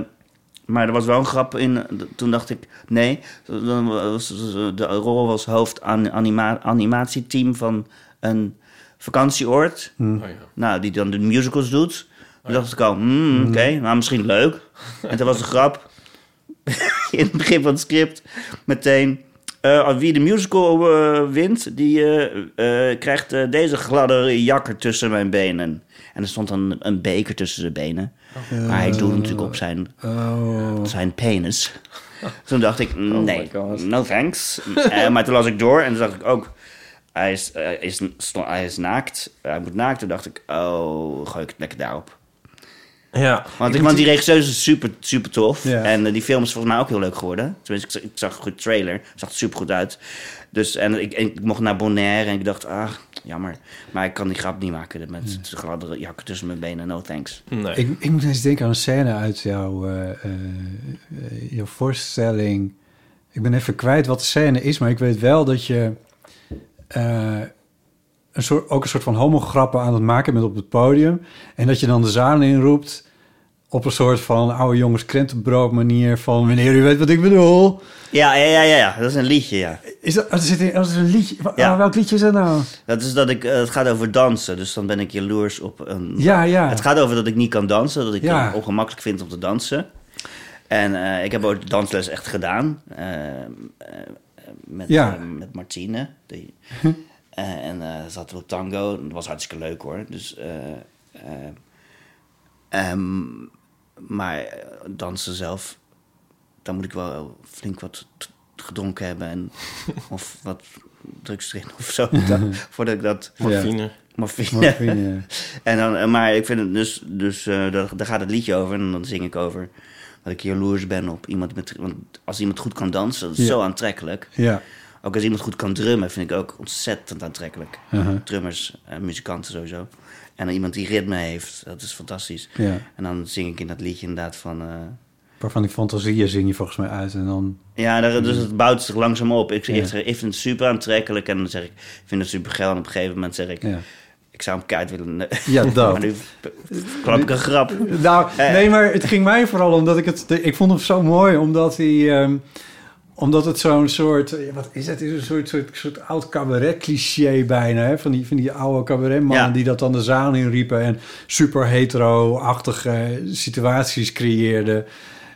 maar er was wel een grap in. Toen dacht ik, nee. dan was- eh, De rol was hoofd an- anima- animatieteam van een vakantieoord.
Oh,
Nou, die dan de musicals doet. Toen dacht ik al, hmm, oké, nou misschien leuk. En toen was de grap in het begin van het script meteen... eh, wie de musical eh, wint, die eh, eh, krijgt eh, deze gladde jakker tussen mijn benen. En er stond dan een beker tussen zijn benen. Maar hij doet natuurlijk op zijn,
Oh.
zijn penis. Toen dacht ik, nee,
God.
no thanks. Eh, maar toen las ik door en toen dacht ik ook... Hij is, hij is, sto- hij is naakt, hij moet naakt. Toen dacht ik, oh, gooi ik het lekker daarop.
Ja.
Want, want die regisseur is super, super tof.
Ja.
En eh, die film is volgens mij ook heel leuk geworden. Tenminste, ik, zag- ik zag een goed trailer. Zag er super goed uit. Dus, en ik, en ik mocht naar Bonaire en ik dacht, ah, jammer. Maar ik kan die grap niet maken met de gladde jakken tussen mijn benen. No thanks.
Nee.
Ik, ik moet eens denken aan een scène uit jouw, eh, eh, eh, jouw voorstelling. Ik ben even kwijt wat de scène is, maar ik weet wel dat je eh, een soort, ook een soort van homograppen aan het maken bent op het podium. En dat je dan de zaal inroept op een soort van oude jongens krentenbrood manier van wanneer u weet wat ik bedoel.
Ja, ja, ja, ja, ja. dat is een liedje, ja.
Is dat, er zit in, dat is een liedje. Wa-
Ja.
ah, welk liedje is dat nou?
Dat is dat ik, eh, het gaat over dansen. Dus dan ben ik jaloers op een...
Ja, ja.
Het gaat over dat ik niet kan dansen. Dat ik
Ja.
het ongemakkelijk vind om te dansen. En eh, ik heb ooit dansles echt gedaan. eh, eh, met,
Ja. Hm.
eh, met Martine. Die, Eh, en eh zaten we op tango. Dat was hartstikke leuk hoor. Dus, eh, eh, ehm, maar eh, dansen zelf, dan moet ik wel flink wat t- gedronken hebben. En, of wat drugs erin of zo. dan- voordat ik dat...
Morfine.
Morfine.
Morphine.
En dan, eh, maar ik vind het dus, dus eh, daar, daar gaat het liedje over. En dan zing ik over dat ik jaloers ben op iemand met. Want als iemand goed kan dansen, dat is
Ja.
zo aantrekkelijk.
Ja.
Ook als iemand goed kan drummen, vind ik ook ontzettend aantrekkelijk.
Uh-huh.
Drummers, eh, muzikanten sowieso. En dan iemand die ritme heeft, dat is fantastisch.
ja.
En dan zing ik in dat liedje inderdaad van. eh,
Waarvan die fantasieën zing je volgens mij uit en dan...
ja, daar, dus het bouwt zich langzaam op. Ik, zeg,
Ja.
ik zeg, ik vind het super aantrekkelijk. En dan zeg ik, ik vind het super geil. En op een gegeven moment zeg ik,
Ja,
ik zou hem kaart willen. ne-
ja dat.
Maar nu klap ik een grap.
Nou,
Eh.
nee, maar het ging mij vooral omdat ik het... Ik vond hem zo mooi, omdat hij... ehm, omdat het zo'n soort... eh, Wat is het? Het is een soort, soort, soort oud cabaret-cliché bijna, hè? Van die, van die oude cabaretmannen
Ja.
die dat dan de zaal inriepen... en super hetero-achtige situaties creëerden...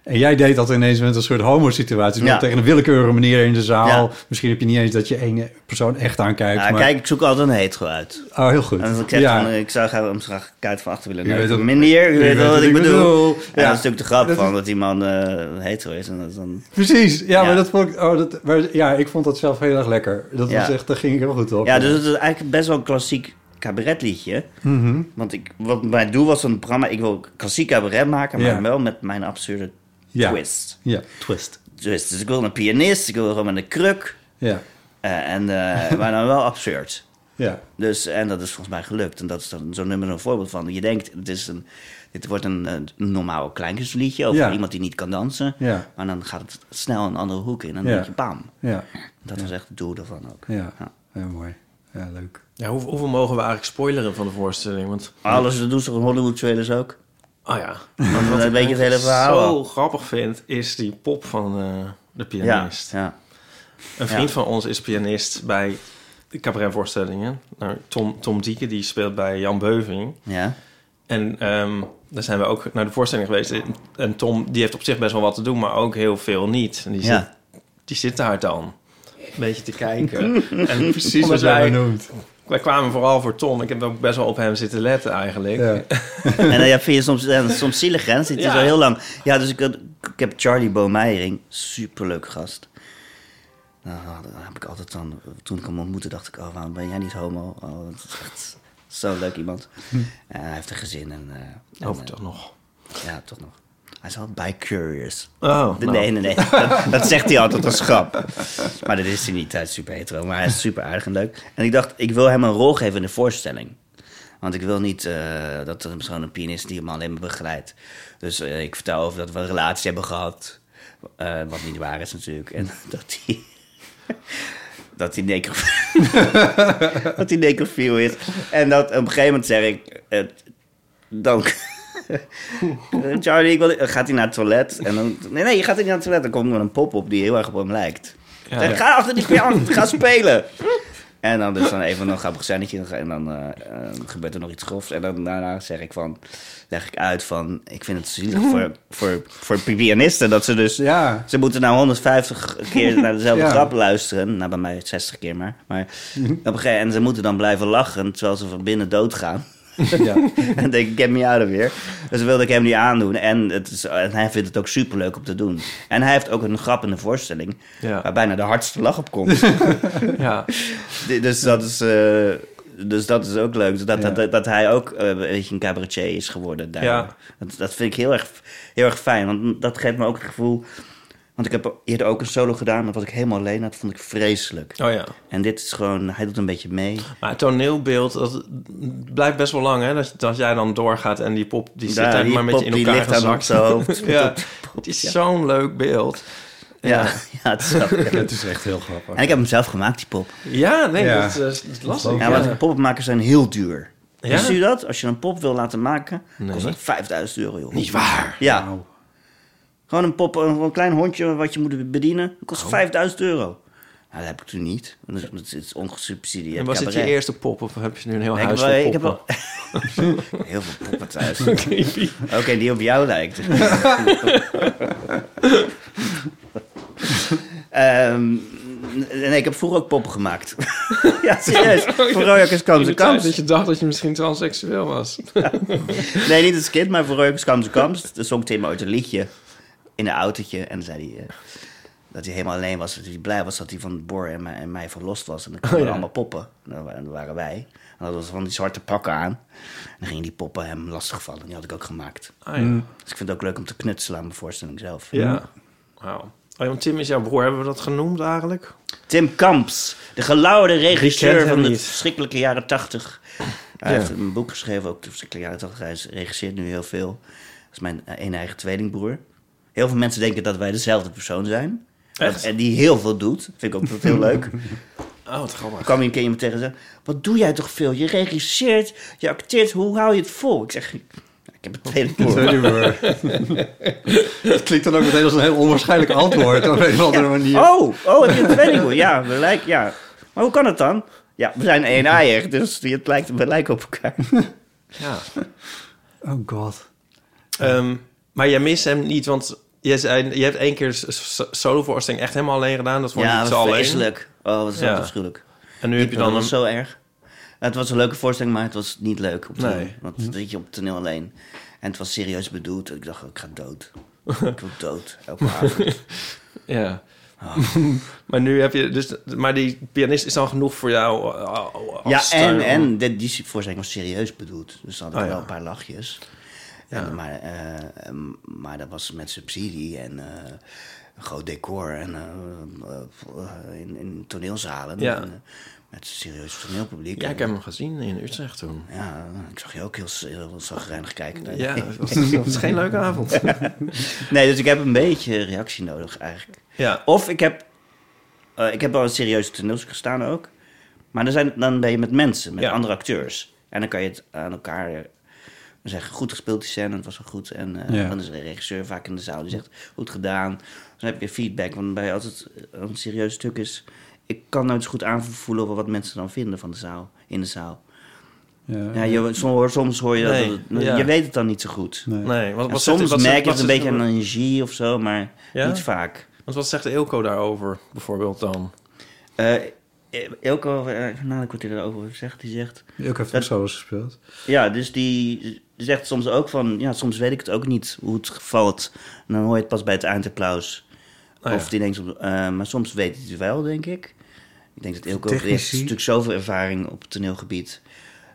En jij deed dat ineens met een soort homo-situatie.
Ja.
Tegen een willekeurige manier in de zaal.
Ja.
Misschien heb je niet eens dat je één persoon echt aankijkt.
Nou,
maar...
kijk, ik zoek altijd een hetero uit.
Oh, heel goed.
En als ik zeg,
Ja.
van, eh, ik zou graag hem graag een kaart van achter willen
U weet
nemen.
wat-
Meneer, u weet wel wat ik bedoel. Ja, dat
Ja,
is natuurlijk de grap
Dat
van dat die man eh, hetero is. En dat is dan...
precies. Ja,
Ja.
maar dat vond ik... Oh, dat, maar, ja, ik vond dat zelf heel erg lekker. Dat
Ja.
was echt... Daar ging ik heel goed op.
Ja, dus het is eigenlijk best wel een klassiek cabaretliedje.
Mhm.
Want ik, wat mijn doel was van het programma, ik wil klassiek cabaret maken, maar
Ja.
wel met mijn absurde
Ja.
twist.
Ja, twist.
Dus, dus ik wil een pianist, ik wil gewoon met een kruk.
Ja,
eh, en, eh, maar dan wel absurd.
ja.
Dus, en dat is volgens mij gelukt. En dat is dan zo'n nummer een voorbeeld van. Je denkt, het is een, dit wordt een, een normaal kleinkunstliedje over
Ja.
iemand die niet kan dansen.
Ja.
Maar dan gaat het snel een andere hoek in. En dan
Ja.
denk je, bam.
Ja,
Dat was echt het doel daarvan ook.
ja. Ja, mooi. Ja, leuk.
Ja, hoe, hoeveel mogen we eigenlijk spoileren van de voorstelling? Want,
Alles, dat doen ze in Hollywood trailers ook.
ah ja.
Want dan weet je het hele verhaal.
zo
al.
grappig vind, is die pop van eh, de
ja,
pianist.
ja.
Een vriend
Ja.
van ons is pianist bij de cabaretvoorstellingen. Nou, Tom, Tom Dieke, die speelt bij Jan Beuving.
ja.
En ehm, daar zijn we ook naar de voorstelling geweest. En Tom, die heeft op zich best wel wat te doen, maar ook heel veel niet. En die,
Ja.
zit, die zit daar dan. Een beetje te kijken. en precies
Wat
wat
jij
wij,
noemt.
wij kwamen vooral voor Tom. Ik heb ook best wel op hem zitten letten eigenlijk.
Ja.
eh, En dan ja, vind je soms, en soms zielig, hè? Dan zit je
Ja.
zo heel lang. Ja, dus ik had- ik heb Charlie Boomeiering, superleuk gast. Nou, daar heb ik altijd dan, toen ik hem ontmoette, dacht ik, oh, waarom ben jij niet homo? Oh, dat is echt zo'n leuk iemand. En hij heeft een gezin en... eh, en,
Hoop
eh,
Oh, toch nog.
Ja, toch nog. Hij is al bi-curious.
Oh,
nee,
nou.
nee, nee, nee. Dat, dat zegt hij altijd als grap. Maar dat is hij niet. Hij is super hetero, maar hij is super aardig en leuk. En ik dacht, ik wil hem een rol geven in de voorstelling. Want ik wil niet eh, dat er zo'n een pianist die hem alleen maar begeleidt. Dus eh, ik vertel over dat we een relatie hebben gehad. eh, wat niet waar is natuurlijk. En dat hij... Dat hij necrofiel dat hij necrofiel is. En dat op een gegeven moment zeg ik... eh, dan... Eh, Charlie, ik wil... eh, gaat hij naar het toilet? En dan... Nee, nee, je gaat niet naar het toilet. Dan komt er een pop op die heel erg op hem lijkt. Zeg,
ja.
Ga achter die piano, ga spelen! En dan dus dan even een grappig scènetje en dan eh, eh, gebeurt er nog iets grofs. En dan daarna zeg ik van, leg ik uit van, ik vind het zielig voor, voor, voor pianisten dat ze dus
Ja.
ze moeten nou 150 keer naar dezelfde
Ja.
grap luisteren. Nou, bij mij 60 keer maar. maar op een gegeven, en ze moeten dan blijven lachen terwijl ze van binnen doodgaan.
ja.
en denk ik, get me out of here. Dus dan wilde ik hem niet aandoen. En, het is, en hij vindt het ook superleuk om te doen. En hij heeft ook een grap in de voorstelling...
Ja.
waar bijna de hardste lach op komt.
Ja.
D- dus dat is... eh, dus dat is ook leuk. Dat, dat, dat, hij ook eh, een beetje een cabaretier is geworden. Daar.
Ja.
Dat, dat vind ik heel erg, heel erg fijn. Want dat geeft me ook het gevoel... Want ik heb eerder ook een solo gedaan, maar wat ik helemaal alleen had, vond ik vreselijk.
Oh ja.
En dit is gewoon, hij doet een beetje mee.
Maar het toneelbeeld, dat blijft best wel lang, hè? Dat, dat jij dan doorgaat en die pop, die zit
Daar,
eigenlijk
die
maar een beetje
pop,
in
die
elkaar
ligt aan
gezakt.
zijn hoofd.
ja. Het is zo'n leuk beeld.
Ja, ja, het is grappig.
Het is echt heel grappig.
En ik heb hem zelf gemaakt, die pop.
Ja, nee,
Ja.
Dat, is, dat is lastig.
Ja, maar poppenmakers zijn heel duur.
Ja?
Wist u dat? Als je een pop wil laten maken,
Nee.
kost dat 5000 euro, joh.
Niet waar.
Ja.
Wauw.
Gewoon een pop, een, een klein hondje wat je moet bedienen, dat
Oh.
kost 5000 euro. Nou, dat heb ik toen niet. Dat is, dat is ongesubsidieerd
En was dit je
cabaret.
eerste pop of heb je nu een heel
Nee,
huis
ik, heb wel-
vol
ik heb
poppen?
wel heel veel poppen thuis. Oké, die op jou lijkt. Ehm, nee, ik heb vroeger ook poppen gemaakt. ja, serieus. Voor Royakkers kwam ze
In de tijd dat
kams.
Oh, je dacht dat je misschien transseksueel was.
Mm.
Nee, niet als kind, maar voor Royakkers kwam ze kams. Toen zong Tim ooit een liedje in een autootje. En dan zei hij eh, dat hij helemaal alleen was. Dat hij blij was dat hij van Bor en mij, en mij verlost was. En dan kwamen
Oh, ja.
er allemaal poppen. En dan wa- en dan waren wij. En dat was van die zwarte pakken aan. En dan gingen die poppen hem lastigvallen. Die had ik ook gemaakt.
Ah ja.
Dus ik vind het ook leuk om te knutselen aan mijn voorstelling zelf.
Ja. Wauw. Oh, ja, want Tim is jouw broer. Hebben we dat genoemd eigenlijk?
Tim Kamps, de gelauwerde
Die kent
regisseur
hem
van de
niet.
verschrikkelijke jaren tachtig. Hij
Ja.
heeft een boek geschreven, ook de verschrikkelijke jaren tachtig. Hij is- regisseert nu heel veel. Dat is mijn eh, een eigen tweelingbroer. Heel veel mensen denken dat wij dezelfde persoon zijn.
Echt?
En die heel veel doet. Vind ik ook heel leuk.
Oh, wat grappig.
Dan kwam je een keer iemand tegen en zei... Wat doe jij toch veel? Je regisseert, je acteert. Hoe hou je het vol? Ik zeg... Ik heb een tweelingbroer.
Het klinkt dan ook meteen als een heel onwaarschijnlijk antwoord op een of andere manier.
Oh, oh, heb je een tweelingbroer? Ja, we lijken, ja. Maar hoe kan het dan? Ja, we zijn één eier, dus het lijkt, we lijken op elkaar.
Ja.
Oh god.
Ehm, maar jij mist hem niet, want jij zei, je hebt één keer s- s- solovoorstelling echt helemaal alleen gedaan. Dat vond je
Ja,
niet
wat
zo alleen.
vreselijk. Oh, wat is
Ja.
dat afschuwelijk.
En nu heb je dan
Dat
een...
was zo erg. Het was een leuke voorstelling, maar het was niet leuk op toneel.
Nee. Hm.
Want dat je op toneel alleen. En het was serieus bedoeld. Ik dacht, ik ga dood. ik wil dood, elke avond.
Ja. maar nu heb je dus... Maar die pianist is dan genoeg voor jou eh, als
ja, en,
steun.
en de, die voorstelling was serieus bedoeld. Dus dan had ik
Oh, ja.
wel een paar lachjes. En, maar, eh, ehm, maar dat was met subsidie en eh, een groot decor. En eh, eh, in, in toneelzalen.
Ja.
En, eh, met serieus toneelpubliek.
Ja,
En-
ik heb hem gezien in Utrecht toen.
Ja, ik zag je ook heel, heel zagrijnig kijken.
Ja, dat was, dat was geen leuke avond.
Nee, dus ik heb een beetje reactie nodig eigenlijk.
Ja.
Of ik heb, eh, ik heb wel een serieuze toneelstuk gestaan ook. Maar dan, zijn, dan ben je met mensen, met
Ja.
andere acteurs. En dan kan je het aan elkaar eh, zeggen, goed gespeeld die scène, het was wel goed. En eh,
Ja.
dan is de regisseur vaak in de zaal, die zegt, goed gedaan. Dus dan heb je feedback, want bij als het een serieus stuk is... ik kan nooit zo goed aanvoelen wat mensen dan vinden van de zaal, in de zaal.
Ja,
Ja, je, som- soms hoor je
Nee,
dat, het-
ja.
je weet het dan niet zo goed.
Nee.
Nee, wat,
En
wat
soms
zegt- wat
merk
zegt-
je
wat
het een
zegt-
beetje aan een energie of zo, maar
Ja?
niet vaak.
Want wat zegt Eelco daarover bijvoorbeeld dan?
Eh, eh, Elko, eh, nou, ik word hij daarover zegt, die zegt...
Ook heeft ook
Dat-
zo eens gespeeld.
Ja, dus die zegt soms ook van... Ja, soms weet ik het ook niet hoe het valt. En dan hoor je het pas bij het eindapplaus.
Ah,
Of
ja.
die denkt... soms, eh, maar soms weet hij het wel, denk ik. Ik denk dat Ilko heeft
Technici.
natuurlijk zoveel ervaring op het toneelgebied...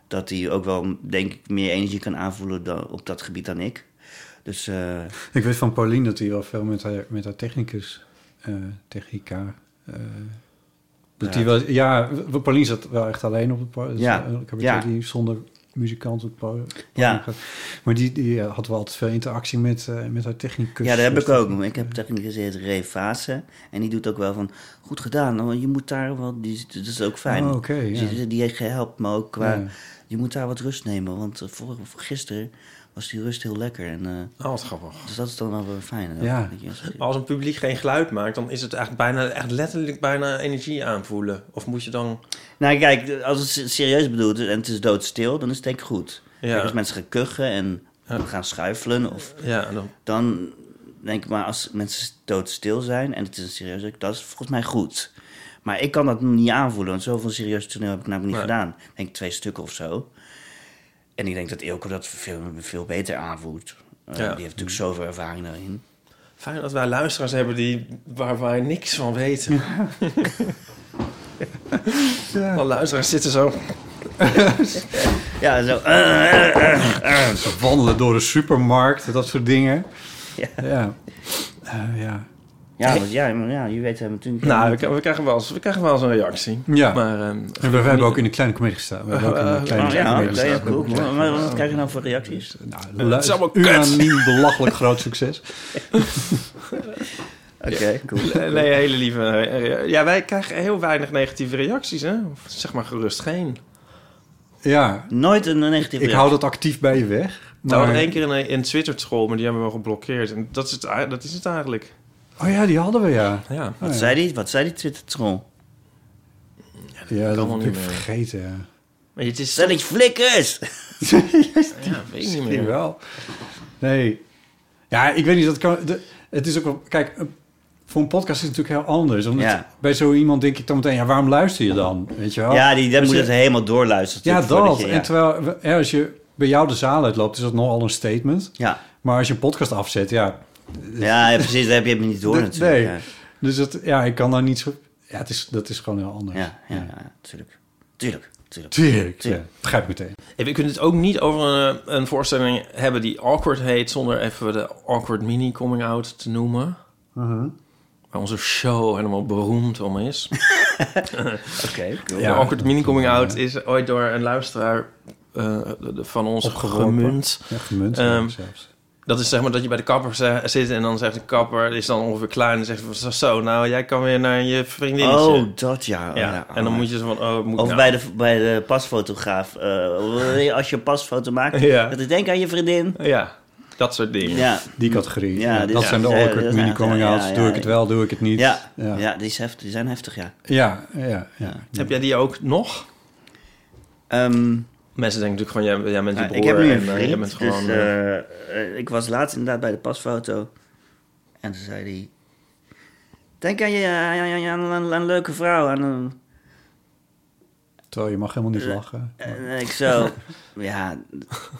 dat hij ook wel, denk ik, meer energie kan aanvoelen dan, op dat gebied dan ik. Dus eh,
Ik weet van Pauline dat hij wel veel met haar, met haar technicus, eh, technica... eh, dat hij wel, ja, w- Pauline zat wel echt alleen op het podium.
Ja,
Ik heb
ja.
die zonder muzikant op het po- podium
Ja.
gaat. Maar die, die eh, had wel altijd veel interactie met, eh, met haar technicus.
Ja, dat heb ik
Dus
ook. Ik heb technicus heet Ray Fase. En die doet ook wel van, goed gedaan. hoor. Je moet daar wel... Die, dat is ook fijn.
Oh, oké, ja.
Dus die, die heeft gehelpt me ook qua...
Ja.
Je moet daar wat rust nemen. Want eh, voor, voor gisteren was die rust heel lekker. En, eh,
Oh, wat grappig.
dus dat is dan wel weer fijn. hè.
Ja.
Dat je-
Maar als een publiek geen geluid maakt, dan is het echt, bijna, echt letterlijk bijna energie aanvoelen. Of moet je dan...
Nou kijk, als het se- serieus bedoeld is en het is doodstil, dan is het denk ik goed.
Ja.
Kijk, als mensen gaan kuchen en
Ja.
gaan schuifelen of...
Ja, dan...
dan denk ik maar als mensen doodstil zijn en het is een serieus werk, dat is volgens mij goed. Maar ik kan dat niet aanvoelen, want zoveel serieus toneel heb ik namelijk niet
Nee.
gedaan. Ik denk twee stukken of zo. En ik denk dat Ilko dat veel, veel beter aanvoelt. Eh,
Ja.
Die heeft natuurlijk zoveel ervaring daarin.
Fijn dat wij luisteraars hebben die, waar wij niks van weten.
Ja.
Alle luisteraars zitten zo...
Ja, zo. eh, eh,
Ze wandelen door de supermarkt, dat soort dingen.
Ja.
Ja. Eh, ja.
ja, want ja, maar ja, je weet hem natuurlijk.
Nou, we, k- we krijgen wel eens, we krijgen wel eens een reactie.
Ja.
Maar, ehm,
En we, we hebben ook in de kleine comedie gestaan. We hebben ook in de kleine
Oh, ja,
comedie
dat is
gestaan.
cool. Maar maar wat krijg je nou voor reacties?
Nou, lu-
is allemaal kut.
unaniem belachelijk groot succes.
Oké, cool.
nee, hele lieve... eh, Ja, wij krijgen heel weinig negatieve reacties, hè? Of zeg maar gerust geen.
Ja,
Nooit een negatieve
ik hou dat actief bij je weg.
Nou,
Maar...
hadden één keer een, een Twitter-troll, maar die hebben we geblokkeerd. En dat is het, ei- dat is het eigenlijk.
Oh ja, die hadden we, ja.
Ja.
Wat zei die, wat zei die Twitter-troll?
Ja, dat
wel
heb
niet
ik
meer.
vergeten. ja.
Maar het is...
Stelletje flikkers!
Ja, weet ik niet
Die
meer.
wel. Nee. Ja, ik weet niet, dat kan... de- het is ook wel... Kijk, eh, voor een podcast is het natuurlijk heel anders. Omdat
Ja.
bij zo iemand denk ik dan meteen... Ja, waarom luister je dan? Weet je wel?
Ja, die, dat
Als
moet
Oh, dus je-
het helemaal doorluisteren.
Ja,
natuurlijk,
dat.
voordat je-
En terwijl, we- ja, als je bij jou de zaal uitloopt, is dat nogal een statement.
Ja.
Maar als je een podcast afzet, ja.
Ja, ja, precies. Dat heb je niet door
dat-
natuurlijk.
Dus- nee.
Ja.
Dus dat, ja, ik kan daar niet zo... Ja, het is, dat is gewoon heel anders.
Ja, ja, ja, tuurlijk. Tuurlijk, tuurlijk.
Tuurlijk. Ja,
Tuurlijk.
begrijp ik meteen.
Hey, We kunnen het ook niet over een, eh, een voorstelling hebben die awkward heet... zonder even de awkward mini-coming-out te noemen.
Mhm.
Waar onze show helemaal beroemd om is.
Oké, cool.
de awkward mini-coming-out is ooit door een luisteraar eh, de- de- van ons
Opgeworpen.
gemunt.
Ja, gemunt
Ehm,
zelfs.
Dat is zeg maar dat je bij de kapper ze- zit en dan zegt de kapper... die is dan ongeveer klaar en dan zegt hij van, zo, nou, jij kan weer naar je vriendinnetje.
Oh, dat ja. Oh,
eh, ja,
ja.
en dan moet je zo van, oh, moet ik
Of
nou-
bij de, bij de pasfotograaf. eh, wil je als je een pasfoto maakt,
Ja.
dat ik denk aan je vriendin.
Ja, dat soort dingen.
Ja,
Die categorie.
Ja,
Ja,
dit
dat
is-
zijn de
ja,
awkward
dat is-
mini-coming-outs.
ja, ja,
doe
ja.
ik het wel, doe ik het niet.
ja, ja.
Ja.
die, is heftig, die zijn heftig, ja.
Ja, ja, ja.
Heb jij die ook nog?
Ehm,
Mensen denken natuurlijk gewoon, jij, jij bent die
nou,
broer
ik heb nu een
en eh, jij
vriend,
bent gewoon...
dus,
eh,
eh, eh, ik was laatst inderdaad bij de pasfoto. En toen zei hij... Denk aan je aan, aan, aan, aan een leuke vrouw, aan een
Terwijl je mag helemaal niet
Eh,
lachen.
En ik zo, ja,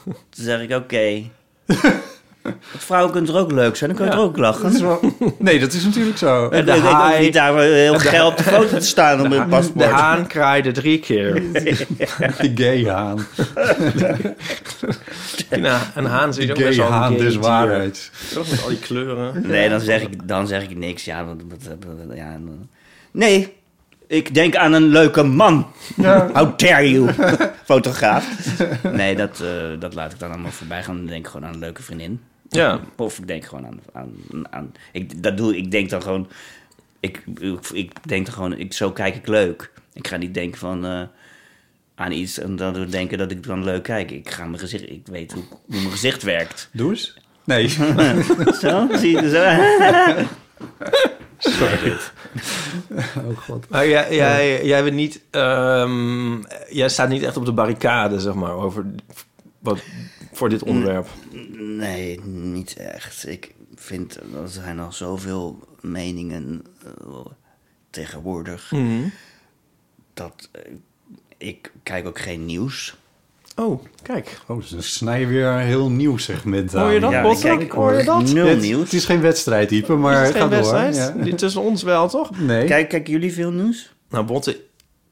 toen zeg ik oké. Want Vrouwen kunnen er ook leuk zijn, dan kunnen er ook lachen.
Dat is wel... Nee, dat is natuurlijk zo.
En
Ik
de
denk ook
haai-
niet daar heel geil op de foto te staan op mijn
de
paspoort.
haan kraaide drie keer.
Die gay haan.
Ja, een haan dus zit
Die
ook best
gay
wel
haan
een
des
gay
waarheid.
dier. Toch met al die kleuren.
Nee, dan zeg ik, dan zeg ik niks. Ja, dat, dat- dat- ja, dan- nee, ik denk aan een leuke man. How dare you, fotograaf. Nee, dat, eh, dat laat ik dan allemaal voorbij gaan. Dan denk ik gewoon aan een leuke vriendin.
Ja.
Of ik denk gewoon aan... aan, aan ik, dat doe, ik denk dan gewoon... Ik, ik, ik denk dan gewoon... Ik, zo kijk ik leuk. Ik ga niet denken van... eh, aan iets en dan denken dat ik dan leuk kijk. Ik ga mijn gezicht... Ik weet hoe, hoe mijn gezicht werkt.
Doe eens. Nee.
Zo, zie je zo.
Oh god.
Maar jij, jij, jij, bent niet, ehm, jij staat niet echt op de barricade, zeg maar, over wat, voor dit onderwerp.
Nee, niet echt. Ik vind... Er zijn al
Hm. Mm-hmm.
zoveel meningen eh, tegenwoordig. dat eh, ik kijk ook geen nieuws.
Oh, kijk.
Oh, dus dan snij je weer een heel nieuw segment aan.
Hoor je dat,
Ja,
ja,
ik kijk
Hoor je dat?
nul
Het,
nieuws.
het is geen wedstrijdtype, maar
Is
het
het geen
gaat door.
wedstrijd?
Ja.
Die Tussen ons wel, toch?
Nee.
Kijk, kijken jullie veel nieuws?
Mm. Nou, Botte,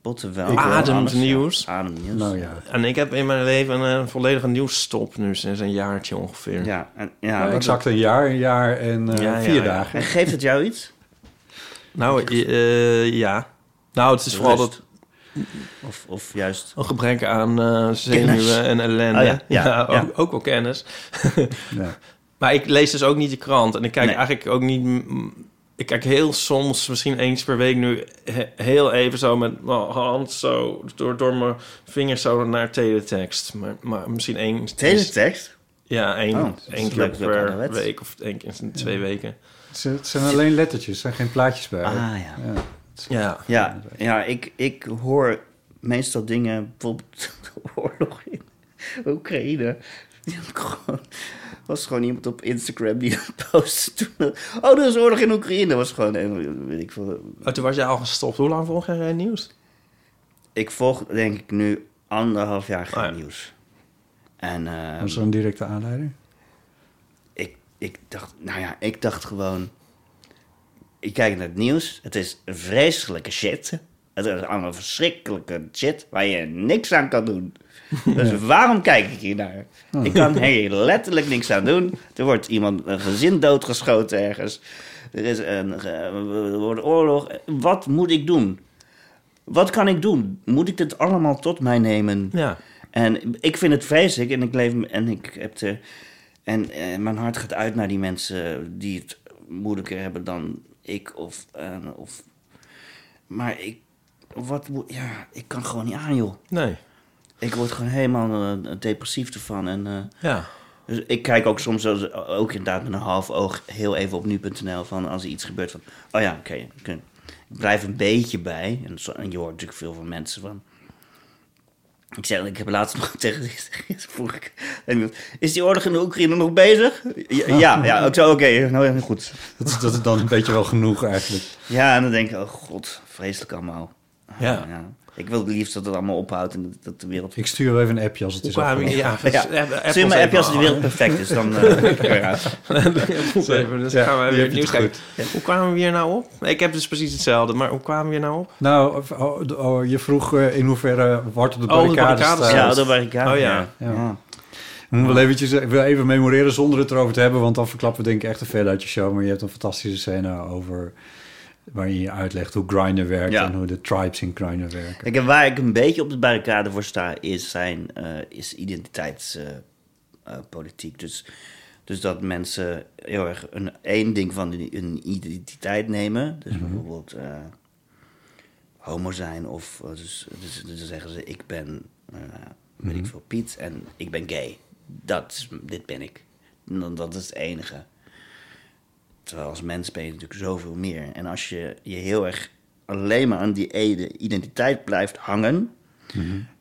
Botten wel.
Ik wel.
Alles, ja.
Ademnieuws.
Ademnieuws.
Nou ja.
en ik heb in mijn leven een, eh, volledige nieuwsstop nu sinds een jaartje ongeveer.
Ja, en, ja,
exact een jaar, een jaar en eh,
Ja, ja,
vier
ja.
dagen.
en geeft het jou iets?
Nou, eh, ja. Nou, het is vooral
Rust.
dat,
Of, of juist...
een gebrek aan eh zenuwen en ellende.
Oh ja, ja, ja.
Ook, ook wel kennis.
Ja.
Maar ik lees dus ook niet de krant. En ik kijk
Nee.
eigenlijk ook niet... mm, Ik kijk heel soms, misschien eens per week nu... he- heel even zo met mijn hand zo... door, door mijn vingers zo naar teletext. Maar, maar misschien één...
Teletext?
Ja,
Oh,
één,
dat nou is
één keer
leuk, leuk
per
ouderwets.
week of één keer in twee weken.
Het zijn- Het zijn alleen lettertjes, er zijn geen plaatjes bij.
Ah ja.
Ja.
Ja.
Ja, ja ik, ik hoor meestal dingen, bijvoorbeeld de oorlog in Oekraïne. Die had ik gewoon- was gewoon iemand op Instagram die dat postte toen. Oh, er is oorlog in Oekraïne. Dat was gewoon, een- weet ik veel.
Oh, toen was jij al gestopt. Hoe lang volg jij geen nieuws?
Ik volg denk ik nu anderhalf jaar geen
Oh ja.
nieuws. En ehm,
Was er een directe aanleiding?
ik, ik dacht, nou ja, ik dacht gewoon. Ik kijk naar het nieuws. Het is vreselijke shit. Het is allemaal verschrikkelijke shit waar je niks aan kan doen. Dus waarom kijk ik hier naar? Ik kan hier letterlijk niks aan doen. Er wordt iemand, een gezin doodgeschoten ergens. Er, is een, ge- er wordt oorlog. Wat moet ik doen? Wat kan ik doen? Moet ik dit allemaal tot mij nemen?
Ja.
En ik vind het vreselijk en ik leef en ik heb de en eh, mijn hart gaat uit naar die mensen die het moeilijker hebben dan ik of eh, of maar ik wat moet- ja ik kan gewoon niet aan joh.
Nee.
Ik word gewoon helemaal eh, depressief ervan en eh,
Ja.
dus ik kijk ook soms als- ook inderdaad met een half oog heel even op nu.nl van als er iets gebeurt van oh ja oké oké. ik blijf een beetje bij en, zo, en je hoort natuurlijk veel van mensen van ik zeg ik heb laatst nog tegen vroeg ik aan iemand, is die oorlog in de Oekraïne nog bezig ja ja, ja ik zei oké nou ja goed
Dat is, dat is dan een beetje wel genoeg eigenlijk.
ja en dan denk ik oh god vreselijk allemaal
Ja.
ik wil het liefst dat het allemaal ophoudt en dat, dat de wereld
Ik stuur wel even een appje als het is
Qua-
afgelopen.
ja,
ja, stuur me een appje als de wereld perfect is dan eh, ben ik er weer uit.
Even, dus gaan
die
we weer
heb
het
je toch
nieuws kijken. Hoe kwamen we hier nou op? Ik heb dus precies hetzelfde, maar hoe kwamen we hier nou op?
Nou, of- oh, de- oh, je vroeg eh, in hoeverre Wart op de
Oh, de
barricade
barricades,
staat.
ja dat waar ik aan
Oh ja.
Ja. Ik moet wel eventjes, eh, ik wil even memoreren zonder het erover te hebben, want dan verklappen we denk ik echt te veel uit je show. Maar je hebt een fantastische scène over waarin je uitlegt hoe Grindr werkt
Ja.
en hoe de tribes in Grindr werken.
Kijk, en waar ik een beetje op de barricade voor sta, is zijn eh, is identiteitspolitiek. dus, dus dat mensen heel erg een één ding van hun, hun identiteit nemen. Dus bijvoorbeeld eh, homo zijn of eh, dus, dus, dus dan zeggen ze ik ben eh, weet ik veel Piet en ik ben gay. Dat is- dit ben ik. En dan- Dat is het enige. Terwijl als mens ben je natuurlijk zoveel meer. En als je je heel erg alleen maar aan die ene identiteit blijft hangen,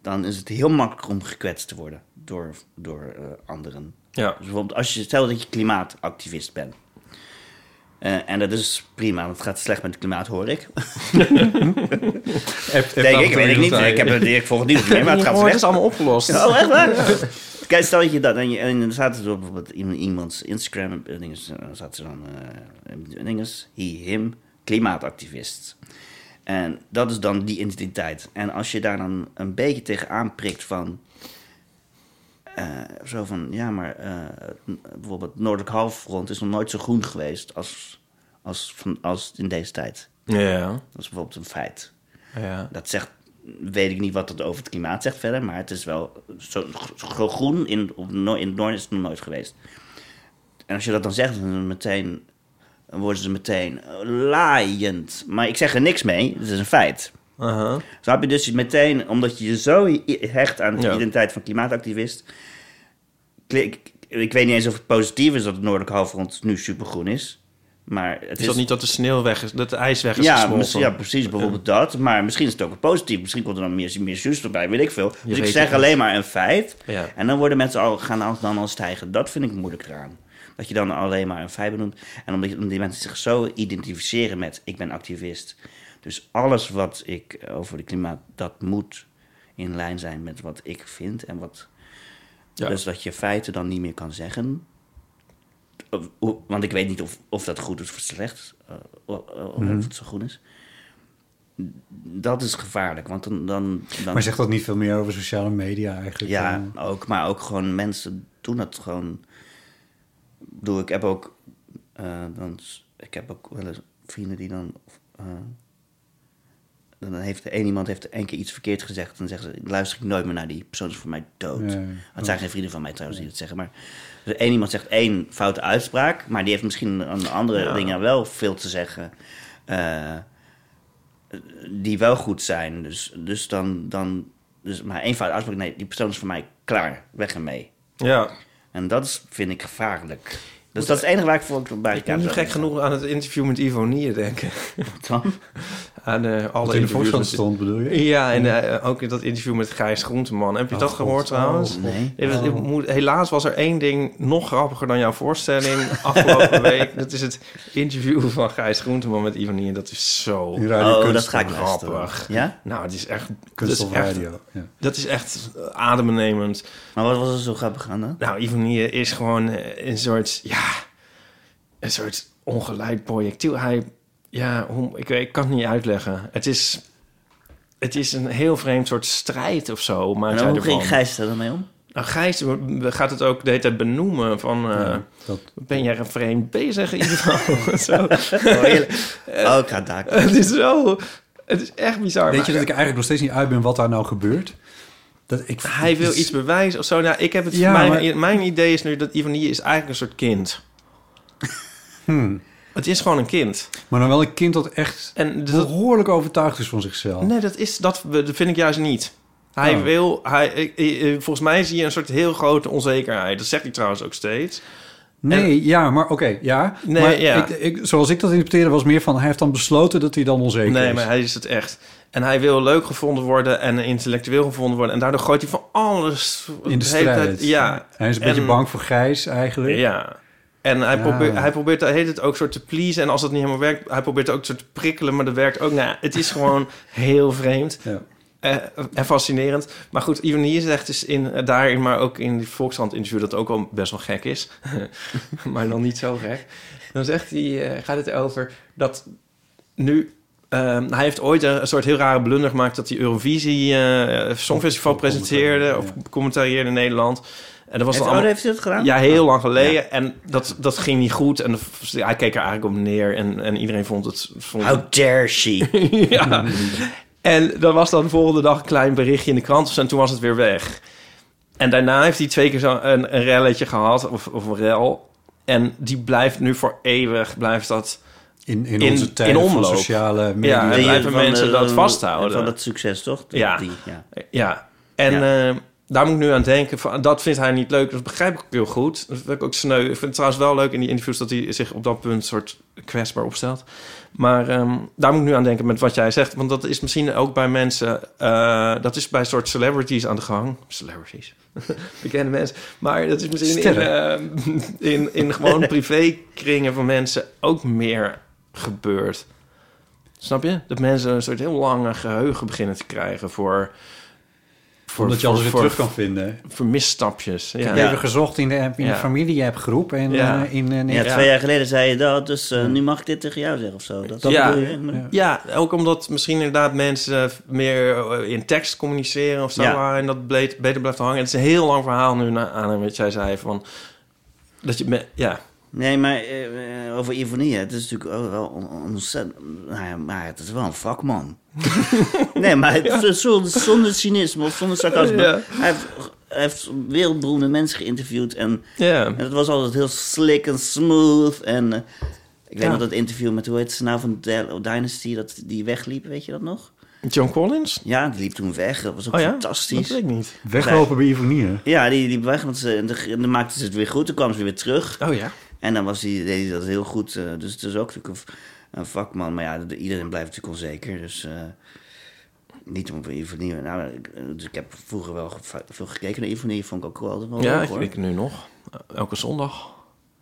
dan is het heel makkelijk om gekwetst te worden door, door eh, anderen.
Ja.
Dus bijvoorbeeld als je stelt dat je klimaatactivist bent. Eh, en dat is prima, want het gaat slecht met het klimaat, hoor ik. Denk ik, weet ik niet. Ik, heb, het- ik volg het nieuws niet meer, maar het gaat
Oh, het
slecht.
is allemaal opgelost.
Oh, echt waar? Kijk, stel dat je dat... En, je, en dan staat er op bijvoorbeeld iemand- iemands Instagram... eh, Dinges, eh, dan staat er dan... eh dinges, he, him, klimaatactivist. En dat is dan die identiteit. En als je daar dan een beetje tegenaan prikt van... eh, zo van, ja, maar eh, n- bijvoorbeeld het Noordelijk Halfrond is nog nooit zo groen geweest als, als, van, als in deze tijd.
Ja.
Dat is bijvoorbeeld een feit.
Ja.
Dat zegt, weet ik niet wat dat over het klimaat zegt verder, maar het is wel zo, zo groen in, op, no- in het noorden is het nog nooit geweest. En als je dat dan zegt, dan, meteen, dan worden ze meteen eh, laaiend. Maar ik zeg er niks mee, het is een feit.
Aha.
Snap je dus meteen, omdat je je zo i- hecht aan de
Ja.
identiteit van klimaatactivist. klik- Ik weet niet eens of het positief is dat het noordelijk halfrond nu supergroen is. Maar het
Is dat niet dat de sneeuw weg is, dat de ijs weg is
ja,
gesmolten?
misschien- ja,
eh,
precies. Bijvoorbeeld dat. Maar misschien is het ook een positief. Misschien komt er dan meer, meer zuurstof bij, weet ik veel. Dus ik
weet
zeg
het
alleen maar een feit.
Ja.
En dan worden mensen al, gaan al- dan al stijgen. Dat vind ik moeilijk eraan. Dat je dan alleen maar een feit benoemt. En omdat je- omdat die mensen zich zo identificeren met ik ben activist. Dus alles wat ik eh, over het klimaat, dat moet in lijn zijn met wat ik vind. En wat,
Ja.
Dus dat je feiten dan niet meer kan zeggen. Of- hoe- Want ik weet niet of, of dat goed is of slecht. eh, Of, of
Mhm.
het zo goed is. Dat is gevaarlijk, want dan... dan, dan
Maar zegt dat niet veel meer over sociale media eigenlijk?
ja,
Eh,
ook. Maar ook gewoon mensen doen dat gewoon. Ik bedoel, ik heb ook. eh, dan, s- ik heb ook wel eens vrienden die dan. eh, dan heeft de een iemand heeft één keer iets verkeerd gezegd. En dan zeggen ze: luister ik nooit meer naar die persoon, is voor mij dood.
Ja, ja.
Het zijn geen vrienden van mij trouwens die dat zeggen. Maar dus één iemand zegt één foute uitspraak. Maar die heeft misschien aan andere dingen wel veel te zeggen. eh, die wel goed zijn. Dus, dus dan, dan dus maar één fout uitspraak. Nee, die persoon is voor mij klaar. Weg ermee.
Ja.
En dat is, vind ik gevaarlijk. Dus dat is het enige waar ik voor bij
Ik ben nu gek genoeg aan het interview met Ivonie denken. Aan eh alle
Wat in de voorstand
interviews.
stond, bedoel je?
Ja, en eh, ook in dat interview met Gijs Groenteman. Heb je
Oh,
dat gehoord trouwens?
Nee.
Ik was- ik moet- Helaas was er één ding nog grappiger dan jouw voorstelling afgelopen week. Dat is het interview van Gijs Groenteman met Ivonie. Dat is zo
Die radio
Oh, dat
kunst-
ga ik
grappig.
luisteren. Ja?
Nou, het is echt... Dat
kunst
is
of
echt,
radio. Ja.
dat is echt eh, adembenemend.
Maar wat was er zo grappig aan dan?
Nou, Ivonie is gewoon eh, een soort, ja, een soort ongeleid projectiel. Hij, ja, hoe, ik, weet- ik kan het niet uitleggen. Het is, het is een heel vreemd soort strijd of zo. Maakt
En
hij
Nou, hoe
ervan.
ging Gijs daar dan mee om?
Nou, Gijs we- we gaat het ook de hele tijd benoemen van... eh,
dat-
Ben jij een vreemd bezig in ieder geval? Zo.
Oh, heerlijk.
Eh,
oh ik ga het daar.
Het is zo... Het is echt bizar.
Weet je
maar-
dat ik eigenlijk nog steeds niet uit ben wat daar nou gebeurt? Dat ik,
Hij wil
het is-
iets bewijzen of zo. Nou, ik heb het,
Ja,
mijn,
maar-
mijn idee is nu dat Ivonie is eigenlijk een soort kind.
Hmm.
Het is gewoon een kind.
Maar dan wel een kind dat echt
En dus dat-
behoorlijk overtuigd is van zichzelf.
nee, dat, is, dat, dat vind ik juist niet. Hij
Oh.
wil, hij, ik- ik- ik- volgens mij zie je een soort heel grote onzekerheid. Dat zegt hij trouwens ook steeds.
Nee, ja, maar oké, ja.
Nee,
maar
ja.
Ik, ik, zoals ik dat interpreteerde was meer van... hij heeft dan besloten dat hij dan onzeker
nee,
is.
maar hij is het echt. En hij wil leuk gevonden worden en intellectueel gevonden worden. En daardoor gooit hij van alles
In de
hele
strijd.
tijd- ja.
Hij is een beetje
En-
bang voor Gijs eigenlijk.
Ja. En hij,
Ja.
probeert, hij probeert de hele tijd ook soort te pleasen. En als dat niet helemaal werkt, hij probeert ook soort te prikkelen. Maar dat werkt ook. Nou, het is gewoon heel vreemd
Ja.
eh, en fascinerend. Maar goed, Ivonie zegt dus in, eh, daarin, maar ook in die Volkskrant-interview... dat ook al best wel gek is. maar dan niet zo gek. Dan zegt hij, eh, gaat het over dat nu... ehm, hij heeft ooit een soort heel rare blunder gemaakt... dat hij Eurovisie eh, Songfestival presenteerde... of commentarieerde in Nederland. En dat was
Heeft,
dan
oh,
allemaal...
heeft hij dat gedaan?
Ja, heel lang geleden. En dat, dat ging niet goed. En de- hij keek er eigenlijk op neer. En, en iedereen vond het... Vond
How dare she?
ja. En dan was dan de volgende dag een klein berichtje in de krant. of zo, En toen was het weer weg. En daarna heeft hij twee keer zo een, een relletje gehad. Of, of een rel. En die blijft nu voor eeuwig. Blijft dat...
In, in
In-
onze tijd
in
van
omloop.
sociale media.
Ja,
Die
blijven
eh, van
mensen
de-
dat vasthouden.
Van dat succes, toch? Die-
Ja.
die, ja.
Ja. En
Ja.
eh, daar moet ik nu aan denken. Van, dat vindt hij niet leuk. Dat begrijp ik ook heel goed. Dat vind ik ook sneu. Ik vind het trouwens wel leuk in die interviews... dat hij zich op dat punt soort kwetsbaar opstelt. Maar ehm, daar moet ik nu aan denken met wat jij zegt. Want dat is misschien ook bij mensen... eh, dat is bij soort celebrities aan de gang. Celebrities. Bekende mensen. Maar dat is misschien in, eh, in, in gewoon privékringen van mensen... ook meer gebeurd. Snap je? Dat mensen een soort heel lange geheugen beginnen te krijgen voor... voor
Omdat je alles weer
voor-
terug kan vinden.
Voor misstapjes. Ja.
Ik heb even gezocht in de, app- in
Ja.
de familie-app groep. En
Ja.
eh, in, eh, nee,
Ja,
Ja.
twee jaar geleden zei je dat, dus eh, nu mag ik dit tegen jou zeggen of zo. Dat,
Ja.
bedoel je?
Ja.
Ja, ook omdat misschien inderdaad mensen meer eh, in tekst communiceren of zo.
Ja.
En dat bleef, beter blijft hangen. Het is een heel lang verhaal nu na- aan hem, wat jij zei. Van, dat je, me- ja,
Nee, maar eh, eh, over Ivonie, het is natuurlijk ook wel on- ontzettend... Nou ja, maar het is wel een vakman. nee, maar het, zonder, zonder cynisme of zonder sarcasme.
Ja.
Hij, heeft, hij heeft wereldberoemde mensen geïnterviewd en,
ja.
en het was altijd heel slick en smooth. En eh, ik weet
Ja.
nog dat interview met, hoe heet ze nou, van Del- Dynasty, dat die wegliep, weet je dat nog?
John Collins?
Ja, die liep toen weg, dat was ook
Oh ja? Dat
fantastisch.
weet ik niet.
Weglopen bij Ivonie, hè?
Ja, die liep weg, want ze, en dan- en dan maakte ze het weer goed, toen kwam ze weer terug.
Oh ja.
En dan was hij, deed hij dat heel goed. eh, dus het is ook natuurlijk een, v- een vakman. Maar ja, de- iedereen blijft natuurlijk onzeker. Dus eh, niet om Ivonie... Nou, ik, eh, dus ik heb vroeger wel geva- veel gekeken naar Ivonie. Vond ik ook wel altijd wel
Ja,
leuk,
ik
hoor.
weet het nu nog. Elke zondag.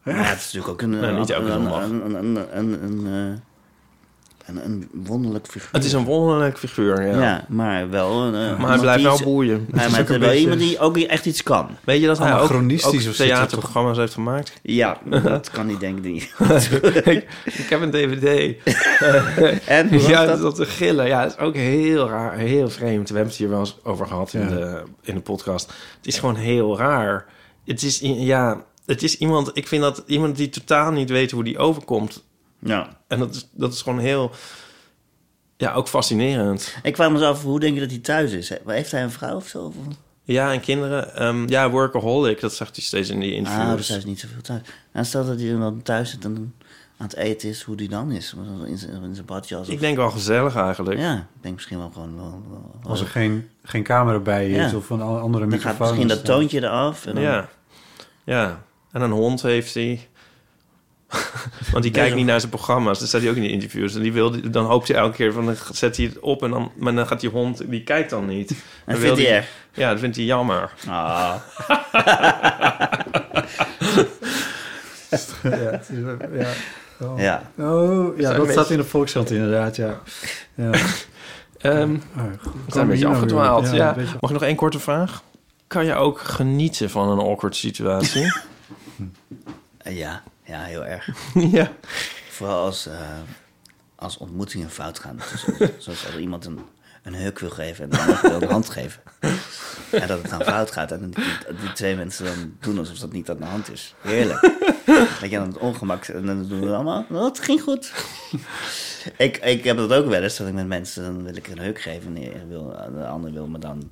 Maar het is natuurlijk ook een,
Nou, niet
een,
elke
een,
zondag.
een, een, een, een, een, eh, een, een wonderlijk figuur.
Het is een wonderlijk figuur, ja.
ja. maar wel een, eh,
Maar hij
iemand
blijft
die
wel
iets-
boeien.
Ja, maar het is wel iemand die ook echt iets kan.
Weet je dat hij ook, ook
Anachronistisch of zo,
theaterprogramma's heeft gemaakt?
Ja, dat kan hij denk ik niet.
ik, ik heb een dvd.
En hoe was
ja,
dat?
dat? te gillen. Ja, dat is ook heel raar, heel vreemd. We hebben het hier wel eens over gehad in,
Ja.
de, in de podcast. Het is gewoon heel raar. Het is, i- ja, het is iemand... Ik vind dat iemand die totaal niet weet hoe die overkomt.
Ja.
En dat is, dat is gewoon heel... Ja, ook fascinerend.
Ik kwam me af, hoe denk je dat hij thuis is? Heeft hij een vrouw of zo? Of-
Ja, en kinderen... ehm, ja, workaholic, dat zegt hij steeds in die
Ah,
interviews.
dus hij is niet zoveel thuis. En stel dat hij dan thuis zit en aan het eten is, hoe die dan is. In zijn, in zijn badjas. Of,
ik denk wel gezellig eigenlijk.
ja, ik denk misschien wel gewoon... Wel, wel-
Als er geen, geen camera bij je
Ja.
is of een a- andere
dan
microfoon.
gaat misschien
is,
dat
dan-
toontje eraf. En dan,
Ja. ja. En een hond heeft hij. Want die kijkt niet naar zijn programma's. Dat zei hij ook in de interviews. En die wilde, dan hoopt hij elke keer van, dan zet hij het op. En dan, maar dan gaat die hond, die kijkt dan niet. Dan
En
wil
vindt hij erg.
Ja, dat vindt hij jammer.
Ah,
Ja. Oh.
ja.
Oh, ja, dat
een beetje-
staat in de Volkskrant inderdaad, ja. ja.
Ehm,
Oh,
we zijn een beetje
hier nou weer?
afgedwaald.
Ja,
Ja,
een beetje-
Mag ik nog één korte vraag? Kan je ook genieten van een awkward situatie?
Ja, ja, heel erg.
ja.
Vooral als, eh, als ontmoetingen fout gaan. tussen ons. Zoals als er iemand een, een heuk wil geven en de ander wil een hand geven. En dat het dan fout gaat. En die, die twee mensen dan doen alsof dat niet aan de hand is. Heerlijk. Dat je dan het ongemak... En dan doen we allemaal... Oh, het ging goed. ik, ik heb dat ook wel eens. Dat ik met mensen... Dan wil ik een heuk geven. En die wil, de ander wil me dan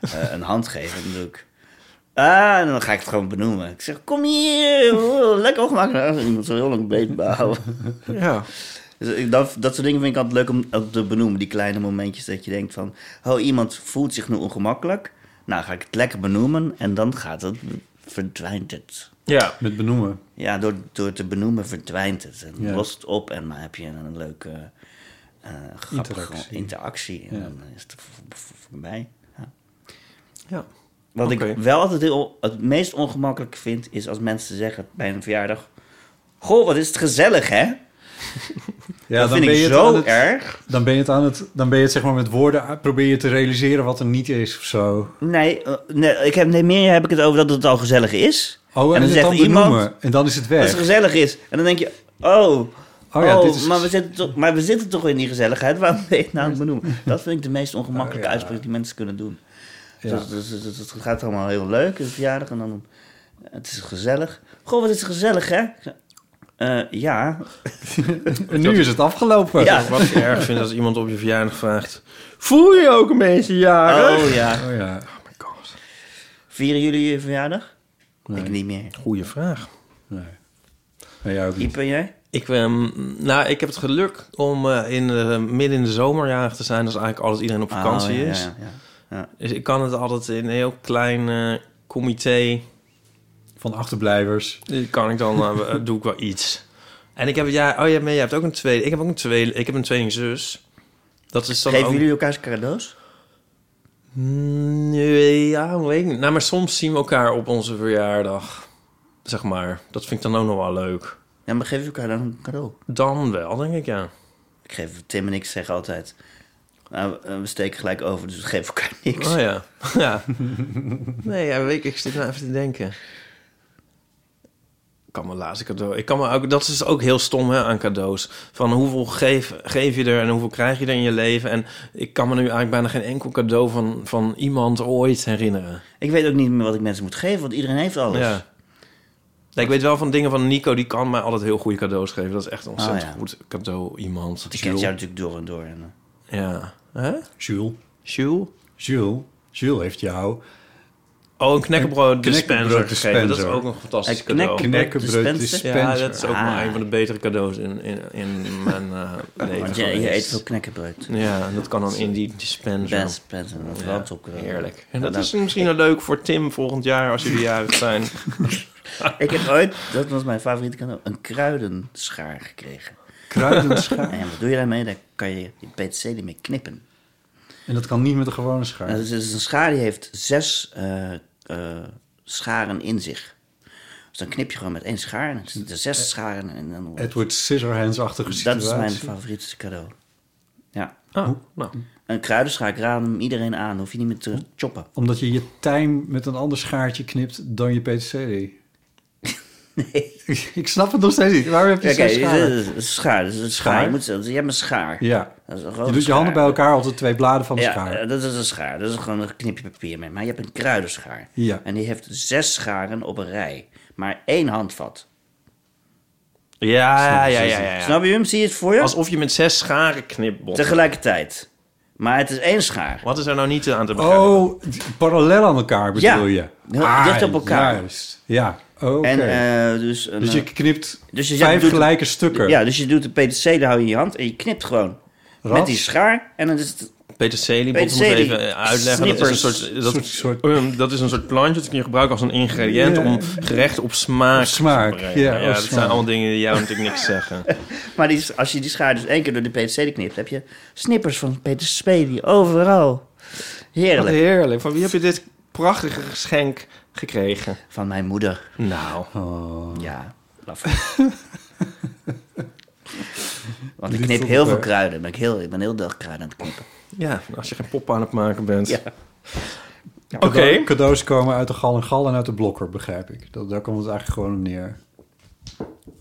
eh, een hand geven. Dan doe ik... Ah, en dan ga ik het gewoon benoemen. Ik zeg, kom hier, oh, lekker ongemakkelijk. Ik moet zo heel lang beet behouden.
ja.
Dus ik- dat, dat soort dingen vind ik altijd leuk om, om te benoemen. Die kleine momentjes dat je denkt van... Oh, iemand voelt zich nu ongemakkelijk. Nou, ga ik het lekker benoemen. En dan gaat het, verdwijnt het.
Ja.
Met benoemen.
Ja, door, door te benoemen verdwijnt het. En
Ja.
lost het op en dan heb je een leuke... eh, grappige
Interactie.
interactie. interactie. En
Ja.
dan is het v- v- voorbij.
ja.
Wat
Oké.
ik wel altijd heel, het meest ongemakkelijk vind, is als mensen zeggen bij een verjaardag... Goh, wat is het gezellig, hè?
Ja,
dat vind ik
het
zo
aan het-
erg.
Dan ben je het aan het, dan ben je het zeg maar met woorden aan- probeer je te realiseren wat er niet is of zo. Oh,
Nee, eh, nee, ik heb, nee, meer heb ik het over dat het al gezellig is.
Oh, en,
dan
het
zegt
dan
iemand
benoemen. En dan is het
dat het
weg.
gezellig is. En dan denk je, oh, oh,
Oh ja, dit is-
maar, we zitten toch, maar we zitten toch in die gezelligheid. Waarom ben je het nou aan het benoemen? Dat vind ik de meest ongemakkelijke
Oh ja.
uitspraak die mensen kunnen doen.
Ja.
Dus, dus- dus- dus het gaat allemaal heel leuk, een verjaardag. En dan, het is gezellig. Goh, wat is het gezellig, hè? Ik zeg, eh, ja,
En nu is het afgelopen.
Ja.
Wat ik erg vind als iemand op je verjaardag vraagt... Voel je je ook een beetje jarig?
Oh ja.
Oh ja.
Vieren jullie je verjaardag? Ik niet meer.
Goeie vraag.
Nee. Nee, jij ook niet.
Iep en jij?
Ik, ehm, nou, ik heb het geluk om eh, in, eh, midden in de zomer jarig te zijn. Dat is eigenlijk alles iedereen op vakantie
Oh, ja,
is.
Ja, ja,
Dus ik kan het altijd in een heel klein eh, comité.
Van achterblijvers.
eh, Kan ik dan eh, eh, doe ik wel iets. En ik heb ja, oh ja, maar jij hebt ook een tweede. Ik heb ook een tweede. Ik heb een tweelingzus. Dat is dan
Geven
ook.
jullie elkaar cadeaus?
Nee, ja, weet ik niet. Nou, maar soms zien we elkaar op onze verjaardag. Zeg maar. Dat vind ik dan ook nog wel leuk.
Ja, maar geef je elkaar dan een cadeau?
Dan wel, denk ik, ja.
Ik geef, Tim en ik zeggen altijd... nou, eh, we steken gelijk over, dus we geven elkaar niks.
Oh ja, ja. Nee, ja, weet ik, ik zit nou even te denken. Ik kan me laatste cadeau... Ik kan me ook, dat is ook heel stom hè, aan cadeaus. Van hoeveel geef, geef je er en hoeveel krijg je er in je leven? En ik kan me nu eigenlijk bijna geen enkel cadeau van, van iemand ooit herinneren.
Ik weet ook niet meer wat ik mensen moet geven, want iedereen heeft alles.
Ja. Nee, ik weet wel van dingen van Nico, die kan mij altijd heel goede cadeaus geven. Dat is echt een ontzettend
Oh, ja.
goed cadeau iemand.
Die kent
Jules.
jou natuurlijk door en door. En, eh,
Ja. Hè?
Jules.
Jules?
Jules. Jules heeft jou
Oh, een knekkenbrood
Een
dispenser
knekkenbrood
gegeven. Dat is
dispenser.
ook een fantastisch
Een knek-
cadeau.
knekkenbrood
Dispenser?
dispenser.
Ja, dat is ook wel
Ah.
een van de betere cadeaus in, in, in mijn eh, leven
want je, je eet
geweest.
veel knekkenbrood.
Ja, en dat kan dan in die dispenser.
Best, best, en dat
Ja,
land op.
heerlijk. En dat
Nou,
is misschien wel leuk voor Tim volgend jaar als jullie jarig zijn. Ah,
Ik heb ooit, dat was mijn favoriete cadeau, een kruidenschaar gekregen.
kruidenschaar.
En wat doe je daarmee? Dan kan je je peterselie mee knippen.
En dat kan niet met een gewone
Nou,
schaar.
het is een schaar die heeft zes eh, eh, scharen in zich. Dus Dus dan knip je gewoon met één schaar. En het zitten er zes scharen. En dan wordt-
Edward Scissorhands-achtige
dat
situatie.
is mijn favoriete cadeau. Ja.
Ah, nou.
Een kruidenschaar, ik raad hem iedereen aan. Dan hoef je niet meer te choppen.
Omdat je je tijm met een ander schaartje knipt dan je peterselie.
Nee.
Ik snap het nog steeds niet. Waarom heb je
Ja,
zes
kijk, dit
scharen?
is een schaar. Dit is een schaar.
Schaar?
Je, moet, je hebt een schaar.
Ja.
Dat is een
Je
grote
doet je handen bij
schaar.
elkaar altijd twee bladen van de
ja,
schaar.
eh, dat is een schaar. Dat is gewoon een knipje papier mee. Maar je hebt een kruidenschaar.
Ja.
En die heeft zes scharen op een rij. Maar één handvat.
Ja, ja, ja, ja, ja.
Snap je hem? Zie je het voor je?
Alsof je met zes scharen knipt.
Tegelijkertijd. Maar het is één schaar.
Wat is er nou niet aan te begrijpen?
Oh, d- parallel aan elkaar bedoel
eh, Ja.
je? Ah,
Ja, dicht op elkaar.
Juist, ja. Oké.
En eh, dus... Een,
dus je
eh,
knipt
dus je zegt,
vijf
doet-
gelijke stukken.
Ja, dus je doet de PTC, daar hou je in je hand en je knipt gewoon.
Rats.
Met die schaar en dan is het...
Peter Selie, Bob, moet
Peterselie.
even eh, uitleggen. Dat is, een
Snippers.
soort, dat,
Soort- soort-
ehm, dat is een soort plantje dat kun je gebruiken als een ingrediënt
Ja.
om gerecht op smaak,
Op smaak,
te brengen.
ja, op
dat
smaak.
zijn allemaal dingen die jou natuurlijk niks zeggen.
Maar die, als je die schaar dus één keer door de PTC knipt, heb je snippers van PTC overal.
Wat
Heerlijk.
heerlijk. Van wie heb je dit prachtige geschenk gekregen?
Van mijn moeder.
Nou,
Oh.
Ja, laf. Want ik knip heel veel kruiden. Ben ik, heel, ik ben heel dag kruiden aan het knippen.
ja, als je geen pop aan het maken bent.
Ja.
Oké.
Cadeau- Cadeaus komen uit de gal en gal en uit de blokker, begrijp ik. Dat, daar komt het eigenlijk gewoon op neer.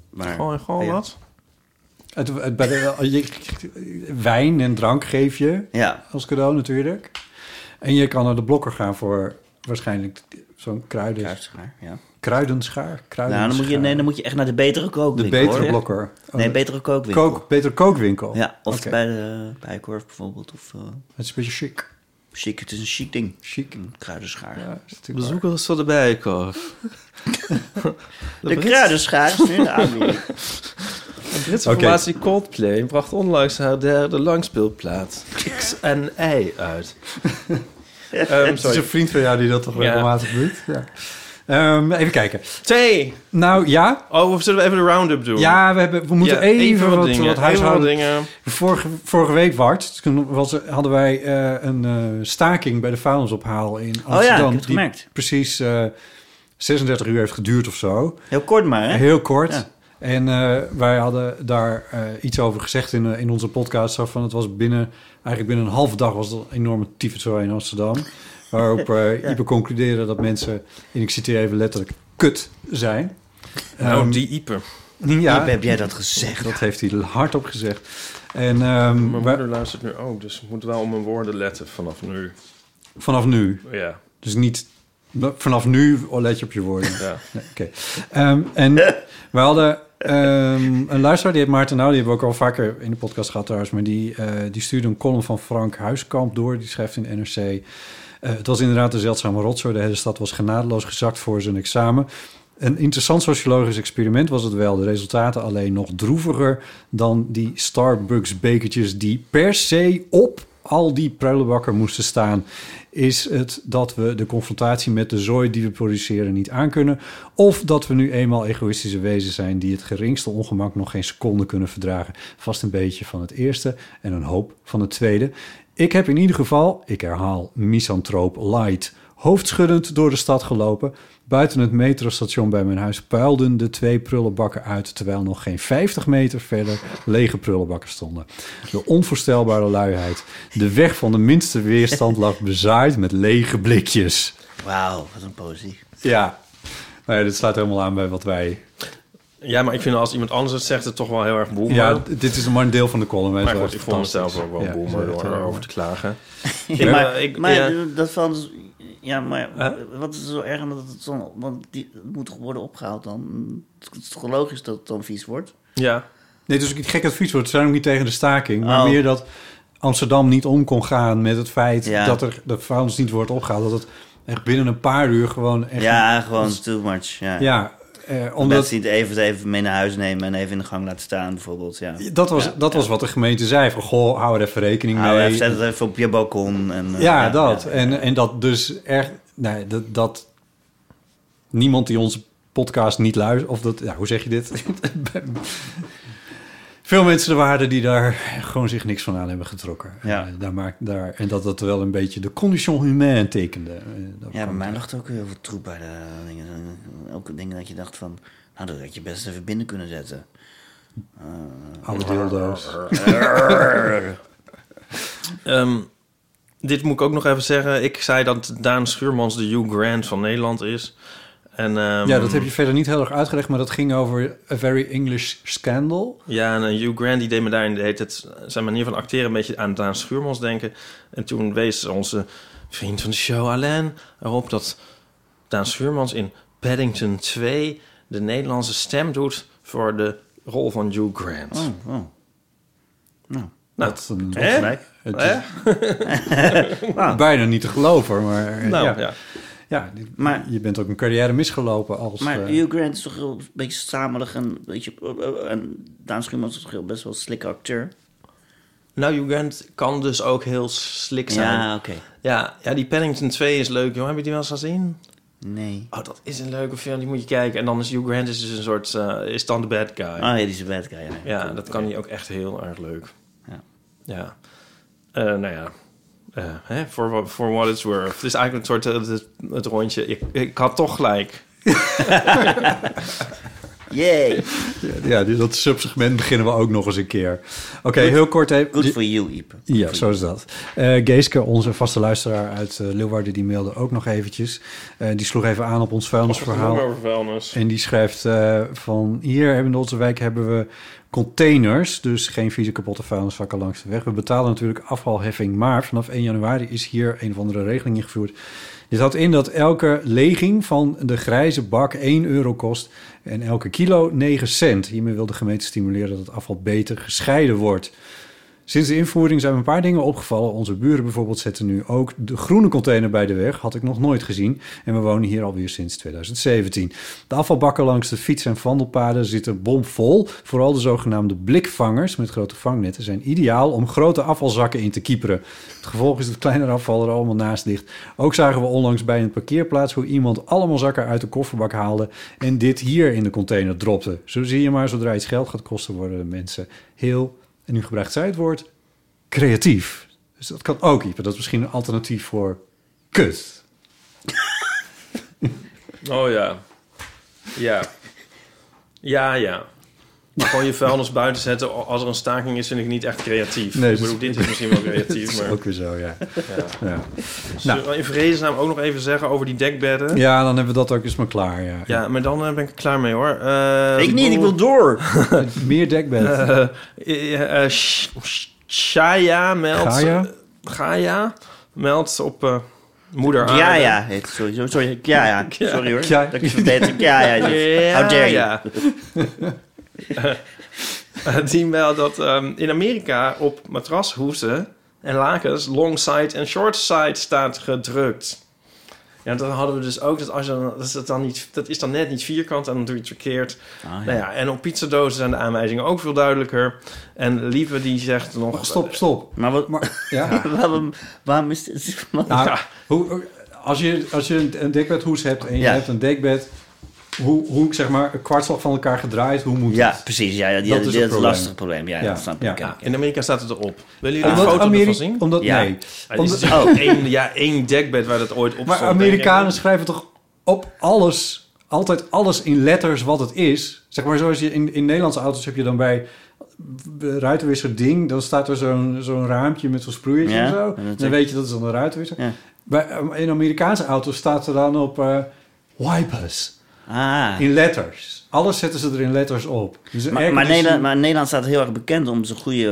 Maar,
Gewoon, gewoon
ja.
wat?
Het, het- bij de, je- wijn en drank geef je
Ja,
als cadeau natuurlijk. En je kan naar de blokker gaan voor waarschijnlijk zo'n kruiden,
kruidenschaar, ja.
kruidenschaar.
Nou,
kruidenschaar.
dan moet, je, nee, dan moet je echt naar de betere
De
kookwinkel,
betere
hoor.
blokker. Oh,
Nee,
de-
betere kookwinkel.
kook, betere kookwinkel.
Ja, of
Oké.
bij de Bijenkorf bijvoorbeeld. Of, eh,
Het is een beetje chic.
chic, het is een chic ding.
Chic.
Een kruidenschaar.
Ja, is natuurlijk
Bezoek ons van de Bijenkorf.
de kruidenschaar is nu in de aanbieding.
De Britse
Oké.
formatie Coldplay bracht onlangs haar derde langspeelplaat X en Y uit. Ehm,
Het is een
sorry.
vriend van jou die dat toch
Ja.
regelmatig doet. Ja. Ehm, even kijken.
Twee.
Nou ja,
Oh, of zullen we even de round-up doen?
ja we, hebben, we moeten
Ja,
even, wat,
dingen,
wat
even
huishouden.
dingen.
Vorige, vorige week, Bart, toen was, hadden wij eh, een eh, staking bij de vuilnisophaal in Amsterdam.
Oh ik heb het
die
gemerkt.
precies eh, 36 uur heeft geduurd of zo.
Heel kort maar, hè?
Heel kort.
Ja.
En eh, wij hadden daar eh, iets over gezegd in, eh, in onze podcast. Zo van, het was binnen, eigenlijk binnen een halve dag was het een enorme tyfuszooi in Amsterdam. Waarop eh Ipe concludeerde dat mensen, en ik citeer even letterlijk, kut zijn.
Nou,
Ehm,
die Ieper.
ja,
Iep, heb jij dat gezegd?
Dat heeft hij hardop gezegd. En ehm,
Mijn
wij-
moeder luistert nu ook, dus ik moet wel op mijn woorden letten vanaf nu.
vanaf nu,
Ja,
dus niet vanaf nu let je op je woorden.
ja.
Nee, Oké. Ehm, en we hadden ehm, een luisteraar, die heet Maarten Nou, die hebben we ook al vaker in de podcast gehad trouwens, maar die, eh, die stuurde een column van Frank Huiskamp door, die schrijft in NRC. eh, het was inderdaad een zeldzame rotzooi. De hele stad was genadeloos gezakt voor zijn examen. Een interessant sociologisch experiment was het wel. De resultaten alleen nog droeviger dan die Starbucks-bekertjes... die per se op al die prullenbakken moesten staan. Is het dat we de confrontatie met de zooi die we produceren niet aankunnen? Of dat we nu eenmaal egoïstische wezens zijn... die het geringste ongemak nog geen seconde kunnen verdragen? Vast een beetje van het eerste en een hoop van het tweede. Ik heb in ieder geval, ik herhaal, misantroop light hoofdschuddend door de stad gelopen. Buiten het metrostation bij mijn huis puilden de twee prullenbakken uit... terwijl nog geen 50 meter verder lege prullenbakken stonden. De onvoorstelbare luiheid. De weg van de minste weerstand lag bezaaid met lege blikjes.
Wauw, wat een poëzie.
Ja, nou ja dit slaat helemaal aan bij wat wij...
ja, maar ik vind als iemand anders het zegt, het toch wel heel erg boemer.
Ja, dit is maar een deel van de column. hè,
maar
zo
goed,
echt
ik vond mezelf
fantastisch.
ook wel
Ja,
boemer
zo echt
door
heel
erover
erg.
te klagen.
Ja, maar
ik-
maar
ja.
dat van... dus- Ja, maar
Huh?
wat is er zo erg aan dat het zo... Want die het moet toch worden opgehaald dan? Het is toch logisch dat het dan vies wordt?
Ja,
Nee, dus ik gek advies wordt. Ze zijn ook niet tegen de staking. Maar
Oh.
meer dat Amsterdam niet om kon gaan met het feit
Ja.
dat er de vuilnis niet wordt opgehaald. Dat het echt binnen een paar uur gewoon echt. Dus-
Ja, gewoon too much. Ja.
ja eh,
Omdat
omdat.
ze niet even, even mee naar huis nemen en even in de gang laten staan, bijvoorbeeld. Ja.
Dat was, dat was wat de gemeente zei. Van goh, hou er even rekening
Nou,
mee.
even, zet het even op je balkon. En, eh,
ja, dat.
ja.
En, en dat dus echt. Nee, dat, dat. Niemand die onze podcast niet luistert. Of dat. Ja, hoe zeg je dit? veel mensen er waren die daar gewoon zich niks van aan hebben getrokken.
Ja.
Eh, daar maakt, daar, en dat dat wel een beetje de condition humaine tekende. Eh, dat
Ja, bij
kwam
mij
daar.
lag er ook heel veel troep bij de dingen. Ook dingen dat je dacht van... Nou, dat had je best even binnen kunnen zetten. Eh,
Oude dildo's.
Ehm, dit moet ik ook nog even zeggen. Ik zei dat Daan Schuurmans de Hugh Grant van Nederland is. En, ehm,
Ja, dat heb je verder niet heel erg uitgelegd, maar dat ging over A Very English Scandal.
Ja, en eh, Hugh Grant die deed me daarin de hele tijd zijn manier van acteren een beetje aan Daan Schuurmans denken. En toen wees onze vriend van de show Alain erop dat Daan Schuurmans in Paddington 2 de Nederlandse stem doet voor de rol van Hugh Grant.
Oh, oh.
nou,
Dat, een-
hè?
gelijk.
het is
Hè?
bijna niet te geloven, maar eh,
Nou,
ja.
ja.
Ja, die-
Maar-
je bent ook een carrière misgelopen als...
Maar
eh,
Hugh Grant is toch wel een beetje stamelig en, weet je, en Daan Schuurmans is toch heel best wel een slikke acteur.
Nou, Hugh Grant kan dus ook heel slik zijn. Ja,
oké.
ja, die Paddington 2 is leuk, joh. Heb je die wel eens gezien?
Nee.
Oh, dat is een leuke film, die moet je kijken. En dan is Hugh Grant is dus een soort, eh, is dan de bad guy.
Ah ja, die is een bad guy. Ja,
Ja, dat kan hij ook echt heel erg leuk.
Ja.
Ja. Eh, nou ja. Eh, hè, voor wha- voor what it's worth. Het is eigenlijk een soort eh, het, het rondje. Ik, ik had toch gelijk.
Yay,
Ja, die- dat subsegment beginnen we ook nog eens een keer. Oké, heel kort even...
good for you, Ipe.
Ja, zo is dat. Eh, Geeske, onze vaste luisteraar uit eh, Leeuwarden, die mailde ook nog eventjes. Eh, die sloeg even aan op ons vuilnisverhaal.
over vuilnis.
En die schrijft eh, van hier hebben in onze wijk hebben we containers, dus geen vieze kapotte vuilnisvakken langs de weg. We betalen natuurlijk afvalheffing, maar vanaf 1 januari is hier een of andere regeling ingevoerd. Dit houdt in dat elke leging van de grijze bak 1 euro kost en elke kilo 9 cent. Hiermee wil de gemeente stimuleren dat het afval beter gescheiden wordt. Sinds de invoering zijn me een paar dingen opgevallen. Onze buren bijvoorbeeld zetten nu ook de groene container bij de weg. Had ik nog nooit gezien. En we wonen hier alweer sinds 2017. De afvalbakken langs de fiets- en wandelpaden zitten bomvol. Vooral de zogenaamde blikvangers met grote vangnetten zijn ideaal om grote afvalzakken in te kieperen. Het gevolg is dat kleinere afval er allemaal naast ligt. Ook zagen we onlangs bij een parkeerplaats hoe iemand allemaal zakken uit de kofferbak haalde en dit hier in de container dropte. Zo zie je maar, zodra iets geld gaat kosten, worden de mensen heel en nu gebruikt zij het woord creatief. Dus dat kan ook, Ipe. Dat is misschien een alternatief voor kut.
Oh ja. Ja. Ja, ja. Maar Gewoon je vuilnis buiten zetten als er een staking is, vind ik niet echt creatief.
Nee,
ik
dat-
bedoel, dit is misschien wel
Dat
creatief.
is
maar
ook weer zo, ja. Ja.
Nou. Zullen we in vredesnaam ook nog even zeggen over die dekbedden. Ja,
ja, dan hebben we dat ook eens maar klaar. Ja.
maar dan eh, ben ik er klaar mee hoor. Eh,
ik niet, ik wil door.
Meer dekbed.
Eh, eh, eh, Sh- Sh- Shaya meldt...
Gaia?
Gaia meldt op eh, moeder aarde.
Ja, ja, heet het sowieso. Sorry, ja, ja. Sorry hoor.
Ja.
Dat ik het verdeed. heb. Ja, ja.
Ja,
How dare you.
ja. Eh, Die meldt dat ehm, in Amerika op matrashoezen en lakens long side en short side staat gedrukt. Ja, dan hadden we dus ook dat als je dan, dat is, dat dan niet, dat is dan net niet vierkant en dan doe je het verkeerd.
Ah, ja.
Nou ja, en op pizzadozen zijn de aanwijzingen ook veel duidelijker. En Lieve die zegt nog...
Oh, Stop, stop.
Maar wat...
Maar, ja.
waarom, waarom is dit...
Nou, hoe, als, je, als je een- een dekbedhoes hebt en je
Ja.
hebt een dekbed... Hoe, hoe ik zeg maar een kwartslag van elkaar gedraaid, hoe moet
ja,
het?
precies. Ja, ja, die,
Dat is
dat is,
een
een
probleem.
lastig probleem. Ja,
Ja,
dat snap ik.
ja.
Ja.
in Amerika staat het erop. Willen jullie een
Omdat
foto ervan
Amerika,
zien?
omdat,
Ja.
Nee.
Er is
Omdat-
dus ook één, ja, één dekbed waar dat ooit op
Maar
stond,
Amerikanen
denk
schrijven toch op alles, altijd alles in letters wat het is. Zeg maar zoals je in, in Nederlandse auto's heb je dan bij ruitenwisser ding, dan staat er zo'n zo'n raampje met zo'n sproeiertje
Ja,
en zo.
en dat
dan
ik-
weet je dat is dan een ruitenwisser.
Ja.
Bij, eh, in Amerikaanse auto's staat er dan op eh, wipers
Ah.
in letters. Alles zetten ze er in letters op. Dus een
Maar, maar,
airconditioning-
Nederland, maar Nederland staat heel erg bekend om zijn goede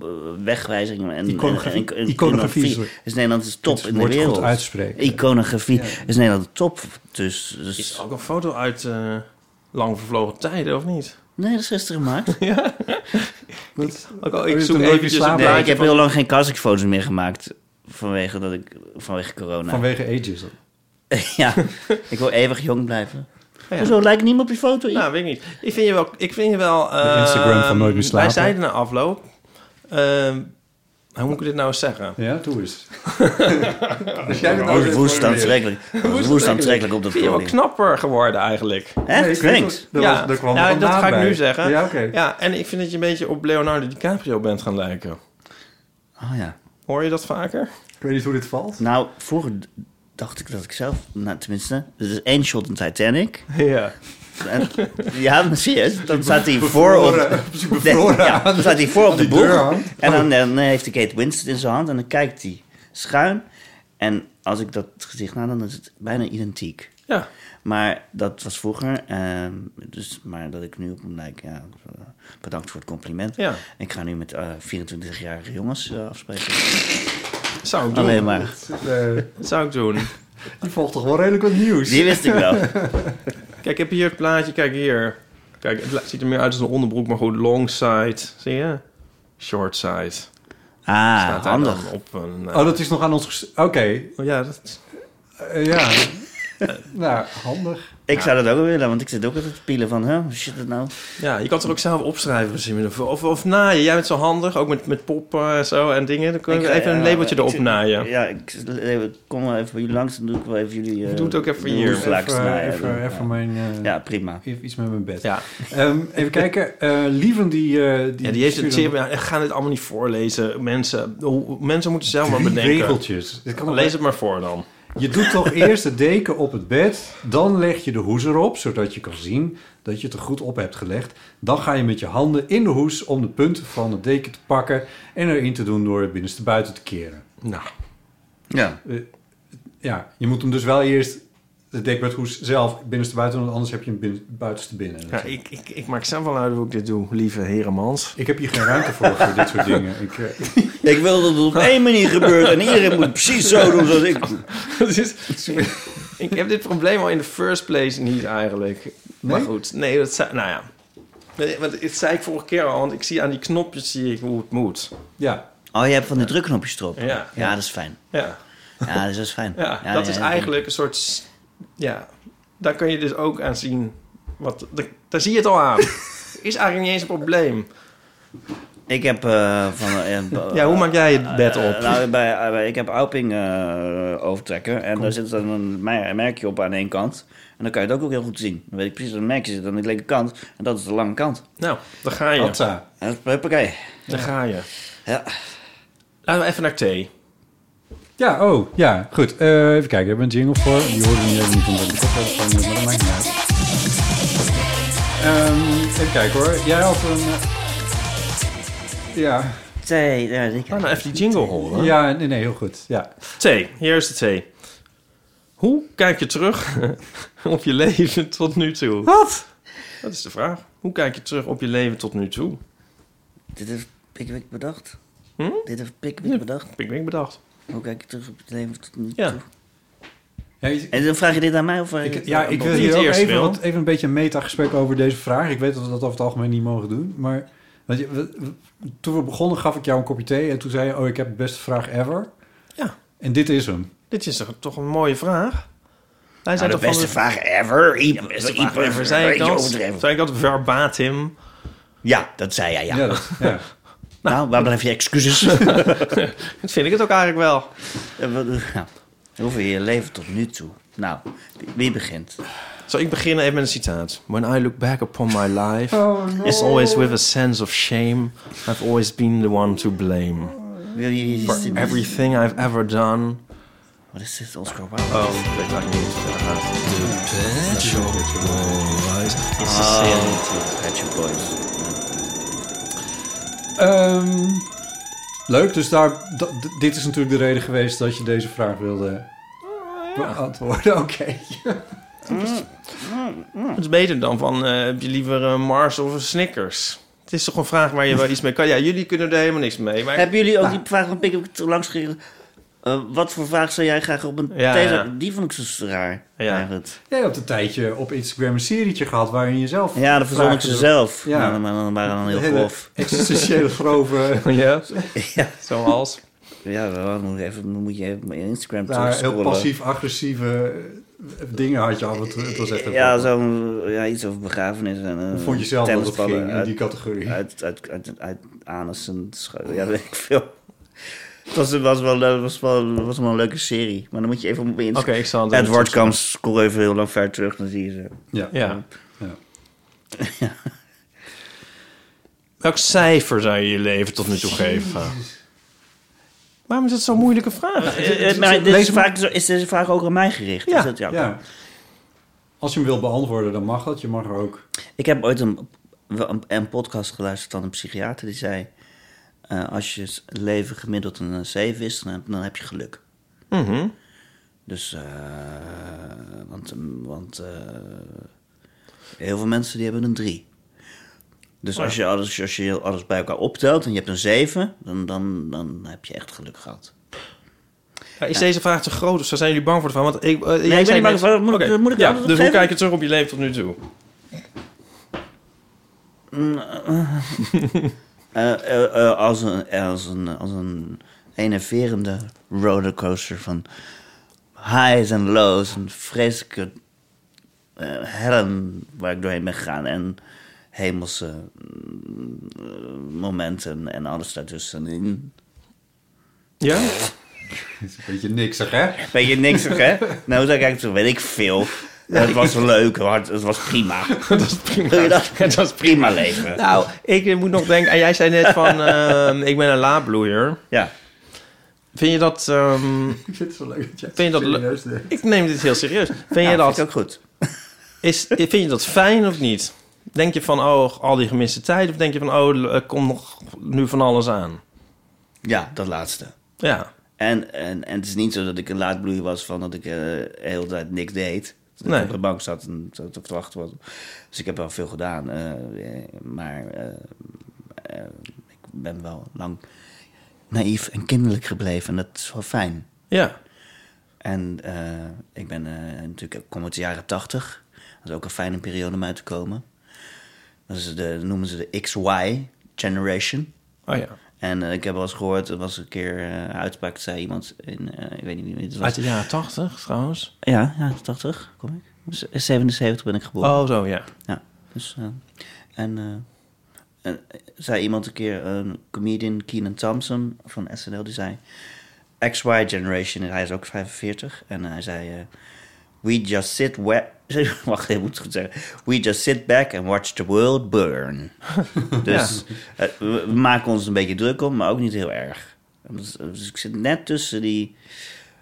eh, wegwijzing. En,
Iconografie.
en- en- en-
Iconografie, sorry.
Dus Nederland is top
Het
in de
woord goed
wereld.
uitspreken.
Iconografie is Nederland top. Dus,
ik. Is
dus,
ook een foto uit eh, lang vervlogen tijden, of niet?
nee, dat is gisteren gemaakt.
Ook, al,
je
ik
hebt
zoek
hem nooit
eventjes
meer
een
slapen.
nee,
plaatje
ik heb
van-
heel lang geen classicfoto's meer gemaakt. Vanwege, dat ik, vanwege corona.
vanwege ages.
ja, ik wil eeuwig jong blijven.
ja.
Hoezo lijkt niemand op die foto?
Nou, weet ik niet. Ik vind je wel... eh, Ik vind je wel
Instagram van Nooit meer
ehm,
slapen.
Wij zeiden na afloop... ehm, Hoe moet ik dit nou eens zeggen?
Ja, doe eens.
Dus jij
doet
Oh, woest aantrekkelijk. Woest aantrekkelijk op dat
Ik ben wel
podium.
knapper geworden eigenlijk.
Echt? Thanks.
Dat,
ja,
was, dat kwam er
nou, dat
vandaan
ga ik
bij.
nu zeggen.
Ja, oké.
Ja, en ik vind dat je een beetje op Leonardo DiCaprio bent gaan lijken.
Oh ja.
Hoor je dat vaker?
Ik weet niet hoe dit valt.
Nou, vroeger d- dacht ik dat ik zelf... Nou, tenminste, er is één shot in Titanic.
Ja.
En, ja, maar serieus. Dan staat hij voor op... Nee, ja, dan staat hij voor op de
die deur
boeg.
hangt.
En dan, eh, dan heeft hij Kate Winslet in zijn hand. En dan kijkt hij schuin. En als ik dat gezicht na, dan is het bijna identiek.
Ja.
Maar dat was vroeger. ehm, dus, maar dat ik nu op hem lijk, ja, eh, bedankt voor het compliment.
Ja.
Ik ga nu met eh, 24-jarige jongens eh, afspreken.
Dat zou ik doen.
Alleen maar.
Dat zou ik doen.
Eh, die volgt toch wel redelijk wat nieuws.
Die wist ik wel.
Kijk, ik heb hier het plaatje. Kijk hier. Kijk, het la- ziet er meer uit als een onderbroek, maar goed. Long side. Zie je? Short side.
Ah,
daar dan
handig.
op een... eh,
Oh, dat is nog aan ons... ges- Oké,
oh, ja, dat...
eh, ja. nou, handig.
Ik zou dat ook willen, want ik zit ook altijd te pielen van, hè, hoe zit het nou?
Ja, je kan het er ook zelf opschrijven. misschien. Of, of, of naaien. Jij bent zo handig, ook met, met poppen en zo en dingen. Dan kun je
Ik,
even een
eh,
labeltje
ik
erop
zit-
naaien.
Ja, ik ik kom wel even bij jullie langs, dan doe ik wel even jullie... eh,
Doe het ook even
de
hier.
hoefvlak
Even,
snijden.
even,
Ja.
even mijn... eh,
Ja, prima.
Even iets met mijn bed.
Ja.
Ehm, even kijken. eh Lieven die... eh, die,
Ja, die heeft een tip.
stuurde
Ja, ik ga dit allemaal niet voorlezen. Mensen, hoe- mensen moeten zelf maar
drie
bedenken.
regeltjes. Dit kan nog
Lees het maar voor dan.
Je doet toch eerst het deken op het bed, dan leg je de hoes erop, zodat je kan zien dat je het er goed op hebt gelegd. Dan ga je met je handen in de hoes om de punten van het deken te pakken en erin te doen door het binnenste buiten te keren.
Nou,
Ja.
Ja, je moet hem dus wel eerst het dek met hoes zelf binnenste buiten, want anders heb je hem binnen, buitenste binnen.
ja, ik, ik, ik maak zelf wel uit hoe ik dit doe, lieve heremans.
Ik heb hier geen ruimte voor voor dit soort dingen. Ik, eh,
Ik wil dat het op één manier gebeurt en iedereen moet precies zo doen zoals ik doe.
Het is- ik heb dit probleem al in de first place niet eigenlijk. Maar goed, nee, dat zei, nou ja. Nee, Want het zei ik vorige keer al, want ik zie aan die knopjes zie ik hoe het moet.
ja,
Oh, je hebt van de drukknopjes erop.
Ja.
ja. dat is fijn.
Ja,
Ja, dat is wel fijn.
ja,
Ja,
dat
ja,
is eigenlijk een soort... s- Ja, daar kun je dus ook aan zien. Wat, daar, daar zie je het al aan. is eigenlijk niet eens een probleem.
Ik heb eh, van... eh,
Ja, hoe maak jij het bed
Eh,
op?
nou, bij, eh, bij- ik heb Alping eh overtrekken en daar zit dan een mer- merkje op aan één kant. En dan kan je het ook, ook heel goed zien. Dan weet ik precies dat een merkje zit aan de linkerkant en dat is de lange kant.
Nou, daar ga je.
Atta.
En Huppakee.
Daar ga je.
Ja.
Laten we even naar thee.
Ja, oh, ja, goed. Eh, even kijken, we hebben een jingle voor. Die hoorde we niet omdat ik op heb, maar dat maakt niet uit. Ehm, even kijken hoor. Jij had een... eh, Ja,
Twee, ja, ik
Laten we even die jingle horen.
ja nee, nee, heel goed. Ja.
Thee, hier is de thee. Hoe kijk je terug op je leven tot nu toe? Wat? Dat is de vraag. Hoe kijk je terug op je leven tot nu toe?
Dit heeft Pikwik bedacht.
Hm?
Dit heeft Pikwik bedacht.
Heb ik denk bedacht.
Hoe kijk je terug op het leven tot nu
Ja.
toe?
Ja, je-
En dan vraag je dit aan mij? Of eh, Nou, vraag je
ik,
dit
ja,
aan
ik
Bob?
wil
eh, Niet
hier ook
eerst,
even,
Wil.
wat, even een beetje een metagesprek over deze vraag. Ik weet dat we dat over het algemeen niet mogen doen. Maar want je, we- we- toen we begonnen gaf ik jou een kopje thee. En toen zei je, oh, ik heb de beste vraag ever.
Ja.
En dit is hem.
Dit is toch, toch een mooie vraag? Wij
Nou,
zijn
de
toch
beste
van
vraag ever. Iep,
de beste
iep,
vraag ever. Zei ik
beetje
dat?
overdreven.
Zei ik dat verbatim?
Ja, dat zei jij, ja.
Ja, dat, ja.
Nou, waar blijf je excuses?
Dat vind ik het ook eigenlijk wel.
Eh, wat- nou, Over je leven tot nu toe. Nou, wie- wie begint?
Zal ik beginnen even met een citaat? When I look back upon my life,
Oh,
it's always with a sense of shame. I've always been the one to
Oh,
blame
Wil je
for everything I've ever done.
Wat is dit, Oscar Wilde?
Oh, ik weet eigenlijk niet hoe het verder gaat. The Pet Shop Boys. It's a sin.
Pet Shop Boys.
Ehm, leuk, dus daar, da- d- dit is natuurlijk de reden geweest dat je deze vraag wilde
Oh,
beantwoorden. Oké.
Dat is beter dan van, eh, heb je liever een Mars of een Snickers? Het is toch een vraag waar je wel iets mee kan. Ja, jullie kunnen er helemaal niks mee. Maar
Hebben jullie ook die vraag van Pik ik langs gekregen? Eh, wat voor vraag zou jij graag op een
Ja,
thee-
ja.
Die vond ik zo raar.
Ja.
eigenlijk.
Jij hebt een tijdje op Instagram een serietje gehad waarin je zelf...
Ja, dat verzon ik
vragen
ze
doet.
zelf.
Ja.
Ja. Maar dan waren dan heel
Hele
grof.
Existentiële grove...
ja,
Ja,
zoals.
ja dan moet, ik even, dan moet je even mijn Instagram
Daar heel
terugscrollen.
passief-agressieve eh, dingen had je af en toe. Het was echt een-
Ja, zo, ja, iets over begrafenis. En, eh,
vond je zelf dat het
tennisballen
ging in
uit-
die categorie?
Uit, uit, uit, uit, anus en schu- Ja, weet ik veel. Het was, was, wel, leuk- was, wel, was wel een leuke serie. Maar dan moet je even op Instagram.
Oké, ik zal het
Edward
ondertussen-
Kamp, scroll even heel lang ver terug, dan zie je ze.
Ja.
Ja.
Ja.
Welk cijfer zou je je leven tot nu toe geven? Waarom is dat zo'n moeilijke vraag?
Eh, eh, Maar dit is, vaak, zo- is deze vraag ook aan mij gericht?
Ja.
Is dat, ja.
Ja. Als je hem wil beantwoorden, dan mag dat. Je mag er ook.
Ik heb ooit een, wel een, een podcast geluisterd van een psychiater die zei... eh, als je s- leven gemiddeld een eh, 7 is, dan heb, dan heb je geluk.
Mhm.
Dus, eh, want, want eh, heel veel mensen die hebben een 3. Dus als, je alles, als je alles bij elkaar optelt en je hebt een 7, dan, dan, dan heb je echt geluk gehad.
Ja, is deze vraag te groot of zijn jullie bang voor de vraag? Want ik, eh, jij
ben niet
zei
bang
net-
voor, moet ik-
Oké,
moet ik
ja,
antwoord
Dus hoe
geven?
kijk je terug op je leven tot nu toe?
Mm. Eh, eh, eh, als, een, als, een, als een enerverende rollercoaster van highs en lows en vreselijke eh, hellen waar ik doorheen ben gegaan en hemelse mm, eh, momenten en alles daartussenin.
Ja?
Weet je niks, zeg, hè?
Weet je niks, zeg, hè? Nou, dan kijk ik zo, weet ik veel. Het was leuk, hard, het was prima. dat was prima. Het was prima leven.
Nou, ik moet nog denken... en Jij zei net van, ehm, ik ben een laadbloeier.
Ja.
Vind je dat... ehm,
Ik vind het zo leuk dat jij
Vind je dat
serieus denkt.
ik neem dit heel serieus. Nou, Vind,
Ja,
je
dat vind ik
dat,
ook goed.
is, vind je dat fijn of niet? Denk je van, oh, al die gemiste tijd? Of denk je van, oh, er komt nog nu van alles aan?
Ja, dat laatste.
Ja.
En, en, en het is niet zo dat ik een laadbloeier was van dat ik eh de hele tijd niks deed. Dat
Nee.
ik op de bank zat en te, te wachten was. Dus ik heb wel veel gedaan. eh, eh, maar eh, eh, ik ben wel lang naïef en kinderlijk gebleven. En dat is wel fijn.
Ja.
En eh, ik ben eh, natuurlijk, ik kom uit de jaren tachtig. Dat is ook een fijne periode om uit te komen. Dat is de, noemen ze de XY generation.
Oh ja.
En eh, ik heb wel eens gehoord, er was een keer eh, een uitspraak, zei iemand in, eh, ik weet niet wie het was.
Uit de jaren tachtig, trouwens.
Ja, ja, 80 kom ik. Z- 77 ben ik geboren.
Oh, zo, ja.
Ja, dus, eh, en, eh, en zei iemand een keer, een comedian Keenan Thompson van SNL, die zei... XY Generation, en hij is ook 45. En hij zei... eh, We just sit we Wacht, ik moet het goed zeggen. We just sit back and watch the world burn. dus eh, we we maken ons een beetje druk om, maar ook niet heel erg. Dus, dus ik zit net tussen die...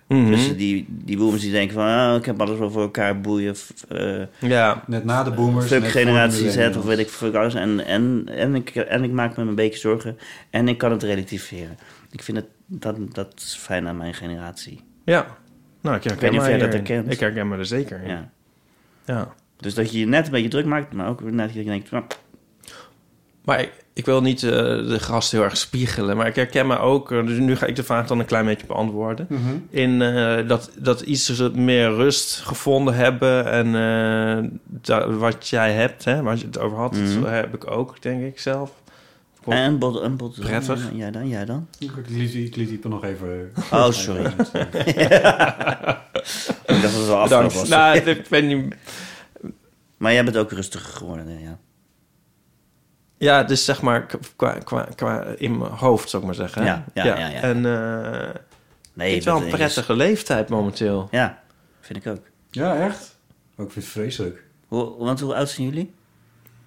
Mhm.
Tussen die, die boomers die denken van... ah, ik heb alles wel voor elkaar, boeien... f- eh,
Ja.
Net na de boomers.
Fuck
net voor de
generatie Z
millennials.
of weet ik fuck alles. En, en, en, ik, en ik maak me een beetje zorgen. En ik kan het relativeren. Ik vind het, dat, dat is fijn aan mijn generatie.
Ja. Nou, ik
weet
herken
niet of
me
jij dat
hierin.
herkent.
Ik herken me er zeker in. Ja.
Ja. Dus dat je je net een beetje druk maakt, maar ook net dat je denkt... nou,
Maar ik, ik wil niet eh, de gast heel erg spiegelen. Maar ik herken me ook... eh, dus nu ga ik de vraag dan een klein beetje beantwoorden. In eh, dat, dat iets ze meer rust gevonden hebben. En eh, da- wat jij hebt, hè, waar je het over had...
Mhm.
Dat heb ik ook, denk ik zelf. Klopt.
En bot, en bot.
Prettig.
Ja, jij dan, jij dan.
Ik liet, die- ik liet die nog even...
Oh, sorry. Ik dacht dat het al afgelopen
Bedankt.
was.
Nou, ik ben niet...
Maar jij bent ook rustiger geworden, eh, ja.
Ja, dus zeg maar k- qua, qua, qua in mijn hoofd, zou ik maar zeggen. hè?
Ja, ja, ja, ja.
En eh
Nee,
het
je
is wel
bent
een
er-
prettige leeftijd momenteel.
Ja, vind ik ook.
Ja, echt? Ook ik vind het vreselijk.
Hoe, want hoe oud zijn jullie?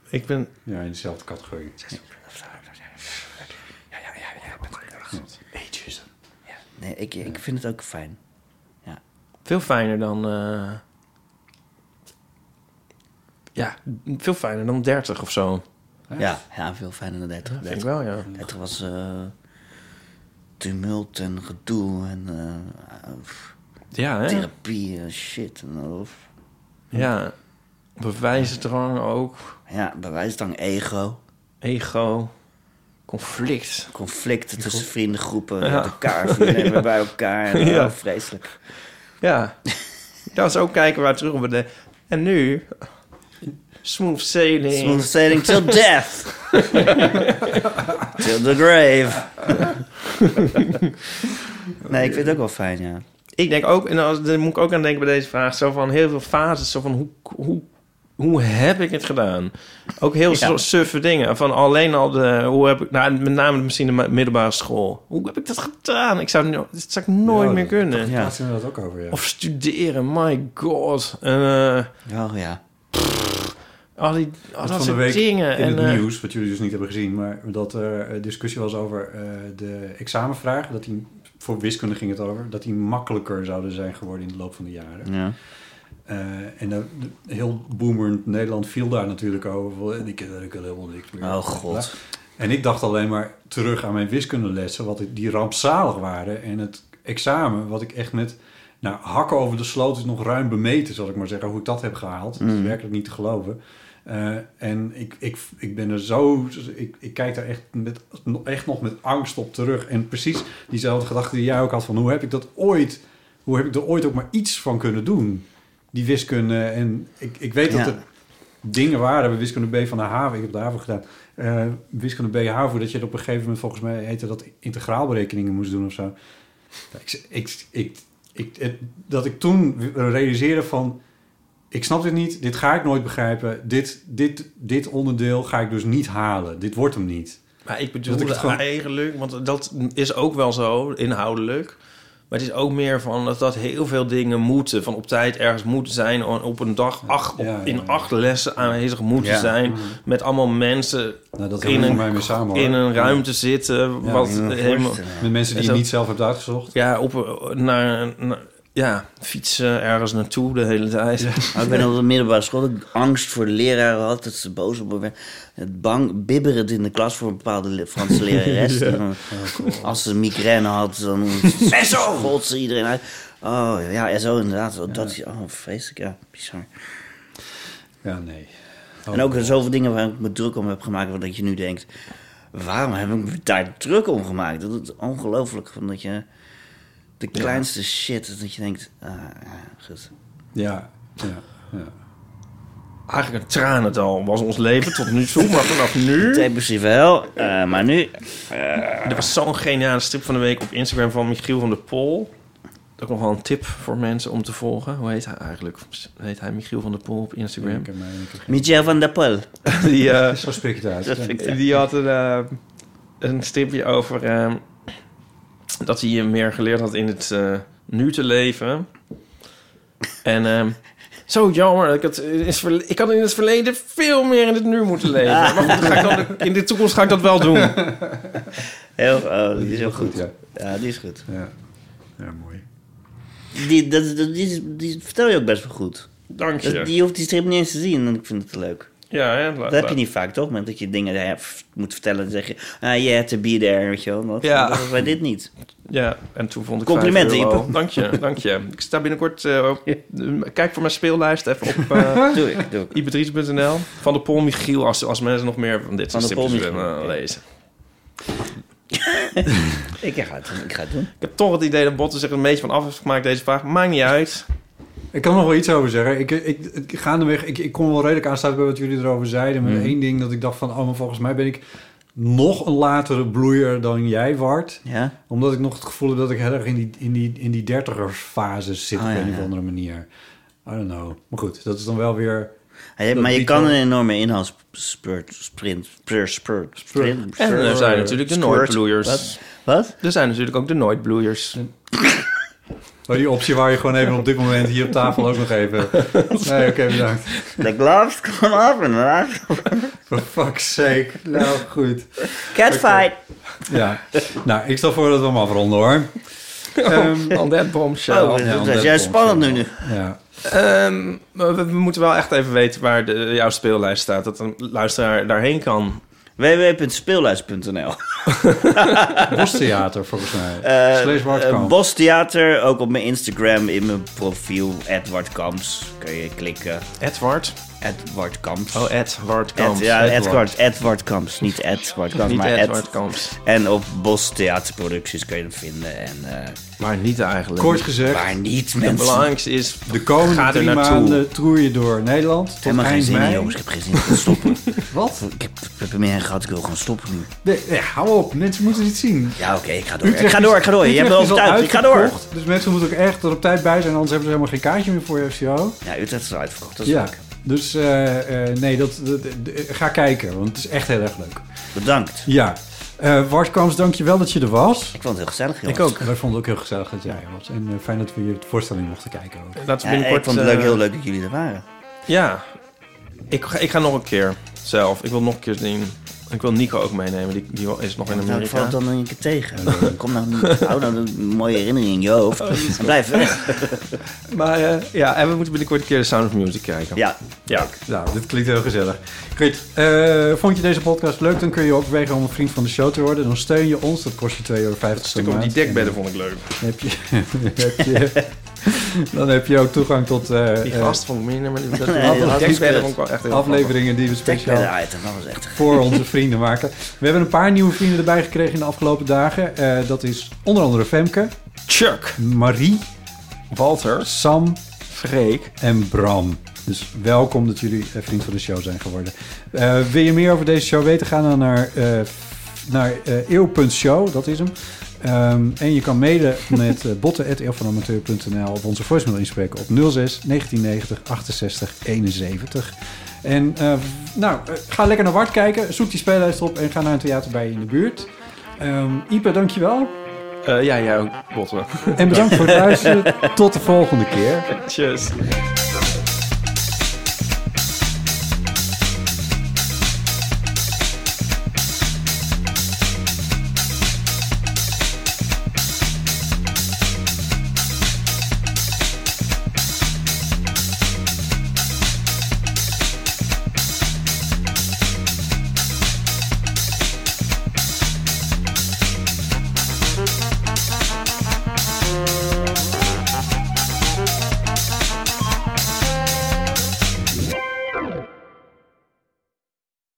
Ik ben...
Ja, in dezelfde categorie.
Nee, ik, ik vind het ook fijn.
Veel fijner dan. eh, ja, veel fijner dan 30 of zo.
Ja, ja veel fijner dan 30.
Vind ik wel, ja.
Het was eh, tumult en gedoe en eh, pff,
Ja, hè?
therapie en shit. En, eh, pff.
Ja. Bewijsdrang ook.
ja, bewijsdrang, ego,
Ego. Conflict.
conflicten tussen vriendengroepen,
Ja.
met elkaar, vrienden
Ja.
bij elkaar. En,
Ja.
oh, vreselijk.
Ja. Dat is ook kijken waar terug op de. En nu. Smooth sailing.
Smooth sailing till death. till the grave. nee, ik vind het ook wel fijn, ja.
Ik denk ook, en als, daar moet ik ook aan denken bij deze vraag, zo van heel veel fases, zo van hoe, hoe hoe heb ik het gedaan? Ook heel soort suffe dingen. Van alleen al de... Hoe heb ik, nou, met name misschien de ma- middelbare school. Hoe heb ik dat gedaan? Ik zou, no- dit zou ik nooit meer kunnen.
Ja. Daar we dat ook over, ja.
Of studeren, my god. En, eh,
Oh ja.
al die al dat
van de
soort
week
dingen.
in
En,
het
eh,
nieuws, wat jullie dus niet hebben gezien, maar dat er eh, discussie was over eh, de examenvraag. Dat die, voor wiskunde ging het over, dat die makkelijker zouden zijn geworden in de loop van de jaren.
ja.
Eh, en dat- heel boomerend Nederland viel daar natuurlijk over. Van, eh, Die kinderen kunnen helemaal niks meer.
Oh, god.
En ik dacht alleen maar terug aan mijn wiskundelessen, wat ik- die rampzalig waren. En het examen, wat ik echt met nou, hakken over de sloot is nog ruim bemeten, zal ik maar zeggen, hoe ik dat heb gehaald. Dat is werkelijk niet te geloven. Eh, en ik, ik, ik ben er zo, ik, ik kijk daar echt, met, echt nog met angst op terug. En precies diezelfde gedachte die jij ook had van hoe heb ik dat ooit, hoe heb ik er ooit ook maar iets van kunnen doen? Die wiskunde en ik, ik weet
Ja.
dat er dingen waren. bij Wiskunde B van de haven. Ik heb de haven gedaan. Eh, wiskunde B haven, dat je op een gegeven moment volgens mij heette dat integraalberekeningen moest doen of zo. Ik, ik, ik, ik, het- dat ik toen realiseerde van... Ik snap dit niet, dit ga ik nooit begrijpen. Dit, dit, dit onderdeel ga ik dus niet halen. Dit wordt hem niet.
Maar ik
Dat
bedoel
ik het gewoon-
eigenlijk, want dat is ook wel zo inhoudelijk. Maar het is ook meer van dat, dat heel veel dingen moeten. Van op tijd ergens moeten zijn. on- Op een dag acht, op-
Ja, ja, ja. Mm.
in acht lessen aanwezig moeten
Ja.
zijn. Met allemaal mensen
Nou, dat
in
hangt voor mij
een,
mee samen. hoor.
in een ruimte zitten.
Ja,
wat
Ik kan me
helemaal,
voorstellen.
Met mensen die
en
je
zo-
niet zelf hebt uitgezocht.
ja, op, naar, naar- ja, fietsen ergens naartoe de hele tijd.
Maar ik ben op de middelbare school dat ik angst voor de leraar had. Dat ze boos op me werd. Het bang, bibberend in de klas voor een bepaalde le- Franse lerares. Die dan- Als ze een migraine had, dan schold ze iedereen uit. Oh ja, ja zo inderdaad. Dat is oh, vreselijk. Ja, bizar.
Ja, nee.
en ook zoveel dingen waar ik me druk om heb gemaakt. waarvan dat je nu denkt, waarom heb ik me daar druk om gemaakt? Dat is ongelooflijk. van Dat je de kleinste shit, dat je denkt, ah, ja, goed.
Ja, ja, ja.
Eigenlijk een tranendal was ons leven tot nu toe. Maar vanaf nu...
Depressief wel, eh, maar nu...
Er was zo'n geniale strip van de week op Instagram van Michiel van der Pol. Dat is nog wel een tip voor mensen om te volgen. Hoe heet hij eigenlijk? Heet hij Michiel van der Pol op Instagram?
Ik heb mij een keer-
Michel van der Pol.
Die, eh,
Zo spreek je het uit.
vind ik
die had een, eh, een stripje over eh, dat hij eh, meer geleerd had in het eh, nu te leven. En ehm, zo jammer. dat Ik had, in het verle- ik had in het verleden veel meer in het nu moeten leven. Maar goed, dat ga ik dan- in de toekomst ga ik dat wel doen.
Heel, oh, die is heel
wel
goed.
ja.
Ja, die is goed.
Ja, ja mooi.
Die, dat, dat- die, is- die vertel je ook best wel goed.
Dank
Dat-
je.
die hoeft die strip niet eens te zien en ik vind het leuk.
Ja, hè,
Dat heb je niet vaak, toch? Met dat je dingen eh, f- moet vertellen en zeg je... Ah, you had to be there, weet je wel. Dat,
Ja.
dat was bij dit niet.
Ja, en toen vond ik
Complimenten,
5 euro.
Ipe.
Dank je, dank je. Ik sta binnenkort... eh, op- kijk voor mijn speellijst even op eh
Doe ik, doe ik.
ipatrice.nl. Van de Pol Michiel, als, als mensen nog meer van dit
Van
soort
der Pol
tipjes willen
Michiel,
eh,
oké.
lezen.
Ik ga het doen, ik ga het doen.
Ik heb toch het idee dat Botten zich een beetje van af heeft gemaakt, deze vraag. Maakt niet uit.
Ik kan er nog wel iets over zeggen. Ik, ik, ik, gaandeweg, ik, ik kon wel redelijk aansluiten bij wat jullie erover zeiden.
Mhm.
Met één ding dat ik dacht van... Oh, maar volgens mij ben ik nog een latere bloeier dan jij, Wart.
Ja?
Omdat ik nog het gevoel heb dat ik heel erg in die, in die, in die dertigersfase zit...
Ah,
op
ja,
een of
ja.
andere manier. I don't know. Maar goed, dat is dan wel weer...
Hij-
Dat
maar je
biedt
kan
wel-
een enorme inhaalsprint... Sprint... Spurt... Spurt... Sprint...
En er zijn natuurlijk de
squirt.
Nooitbloeiers.
Wat? Wat?
Er zijn natuurlijk ook de Nooitbloeiers.
Oh, die optie waar je gewoon even op dit moment hier op tafel ook nog even... Nee, oké, bedankt.
The gloves come off and off.
For fuck's sake. Nou, goed.
Catfight.
Ja. Nou, ik stel voor dat we hem afronden, hoor. Ehm,
On that bombshell.
Oh,
Ja,
dat
dat
is juist
komt
spannend nu. nu.
ja.
Ehm, maar we, we moeten wel echt even weten waar de, jouw speellijst staat. Dat een luisteraar daarheen kan.
www.speelluis.nl
Bostheater, volgens mij.
Eh,
Slash Bart
eh,
Kamp.
Bos Theater, ook op mijn Instagram, in mijn profiel, Edward Kamps. Kun je klikken.
Edward.
Edward Kamps.
Oh, Edward
Ed-
Kamps.
ja, Edward. Edward Kamps. Niet Edward Kamps,
Niet
maar
Edward
Ed.
Kamps.
En op Bos Theaterproducties kun je hem vinden. En, eh,
Maar niet eigenlijk.
Kort gezegd,
maar niet,
Het
mensen.
belangrijkste is...
de komende
Ga er
drie
naartoe.
maanden troei je door Nederland. Tot
Helemaal geen
eind
zin in,
mei.
jongens. Ik heb geen zin in. Stoppen.
Wat?
ik heb, ik heb er meer in gehad. Ik wil gewoon stoppen nu.
Nee, nee, hou op, mensen moeten dit zien.
Ja, oké. ik ga door. Ik ga door, ik ga door. Je hebt me
Utrecht is al
overtuigd. Ik ga door.
uitverkocht, Dus mensen moeten ook echt er op tijd bij zijn, anders hebben ze helemaal geen kaartje meer voor je FCO.
Ja, Utrecht is al uitverkocht. Dat is
Ja,
leuk.
Dus eh, eh, nee, dat, dat- eh, ga kijken, want het is echt heel erg leuk.
Bedankt.
Ja. Eh Wart Kams, dankjewel dat je er was.
Ik vond het heel gezellig, jongens.
En wij vonden het ook heel gezellig dat jij er was. En eh, fijn dat we je voorstelling mochten kijken ook.
Laten
Ja,
we binnenkort...
ik vond het leuk,
eh,
heel leuk dat jullie er waren.
Ja. Ik ga, ik ga nog een keer zelf. Ik wil nog een keer zien. Ik wil Nico ook meenemen. Die, die is nog in
Nou, ik val
Amerika.
het dan een keer tegen. Kom nou niet. Hou nou een mooie herinnering in je hoofd. En blijf weg.
Maar eh, ja, en we moeten binnenkort een keer de Sound of Music kijken.
Ja,
ja.
Nou, dit klinkt heel gezellig. Goed. eh, vond je deze podcast leuk? Dan kun je overwegen om een vriend van de show te worden. Dan steun je ons. Dat kost je 2,50 euro.
Het stuk over die dekbedden vond ik leuk.
Dan heb je, heb je- dan heb je ook toegang tot eh,
Die
eh,
gast vond ik minder, maar die, dat-
Nee,
die
dat is
dekbedden
kut.
vond ik wel echt heel
afleveringen die we
check bij
speciaal
de item. Ah, Dat was echt
voor onze vrienden maken. We hebben een paar nieuwe vrienden erbij gekregen in de afgelopen dagen. Eh, dat is onder andere Femke,
grappig. Chuck,
Marie,
Walter,
Sam
Freek.
en Bram. Dus welkom dat jullie eh, vriend van de show zijn geworden. Eh, wil je meer over deze show weten? Ga dan naar, eh, f- naar eh, eeuw.show, dat is hem. Ehm, en je kan mailen met eh, botten.eeuwvanamateur.nl of onze voicemail inspreken op 06 1990 68 71. En eh, nou, eh, ga lekker naar Wart kijken, zoek die speellijst op en ga naar een theater bij je in de buurt. Ehm Ipe, dankjewel.
Eh ja, jij ook, Botten.
En bedankt voor het luisteren. Tot de volgende keer.
Tjus.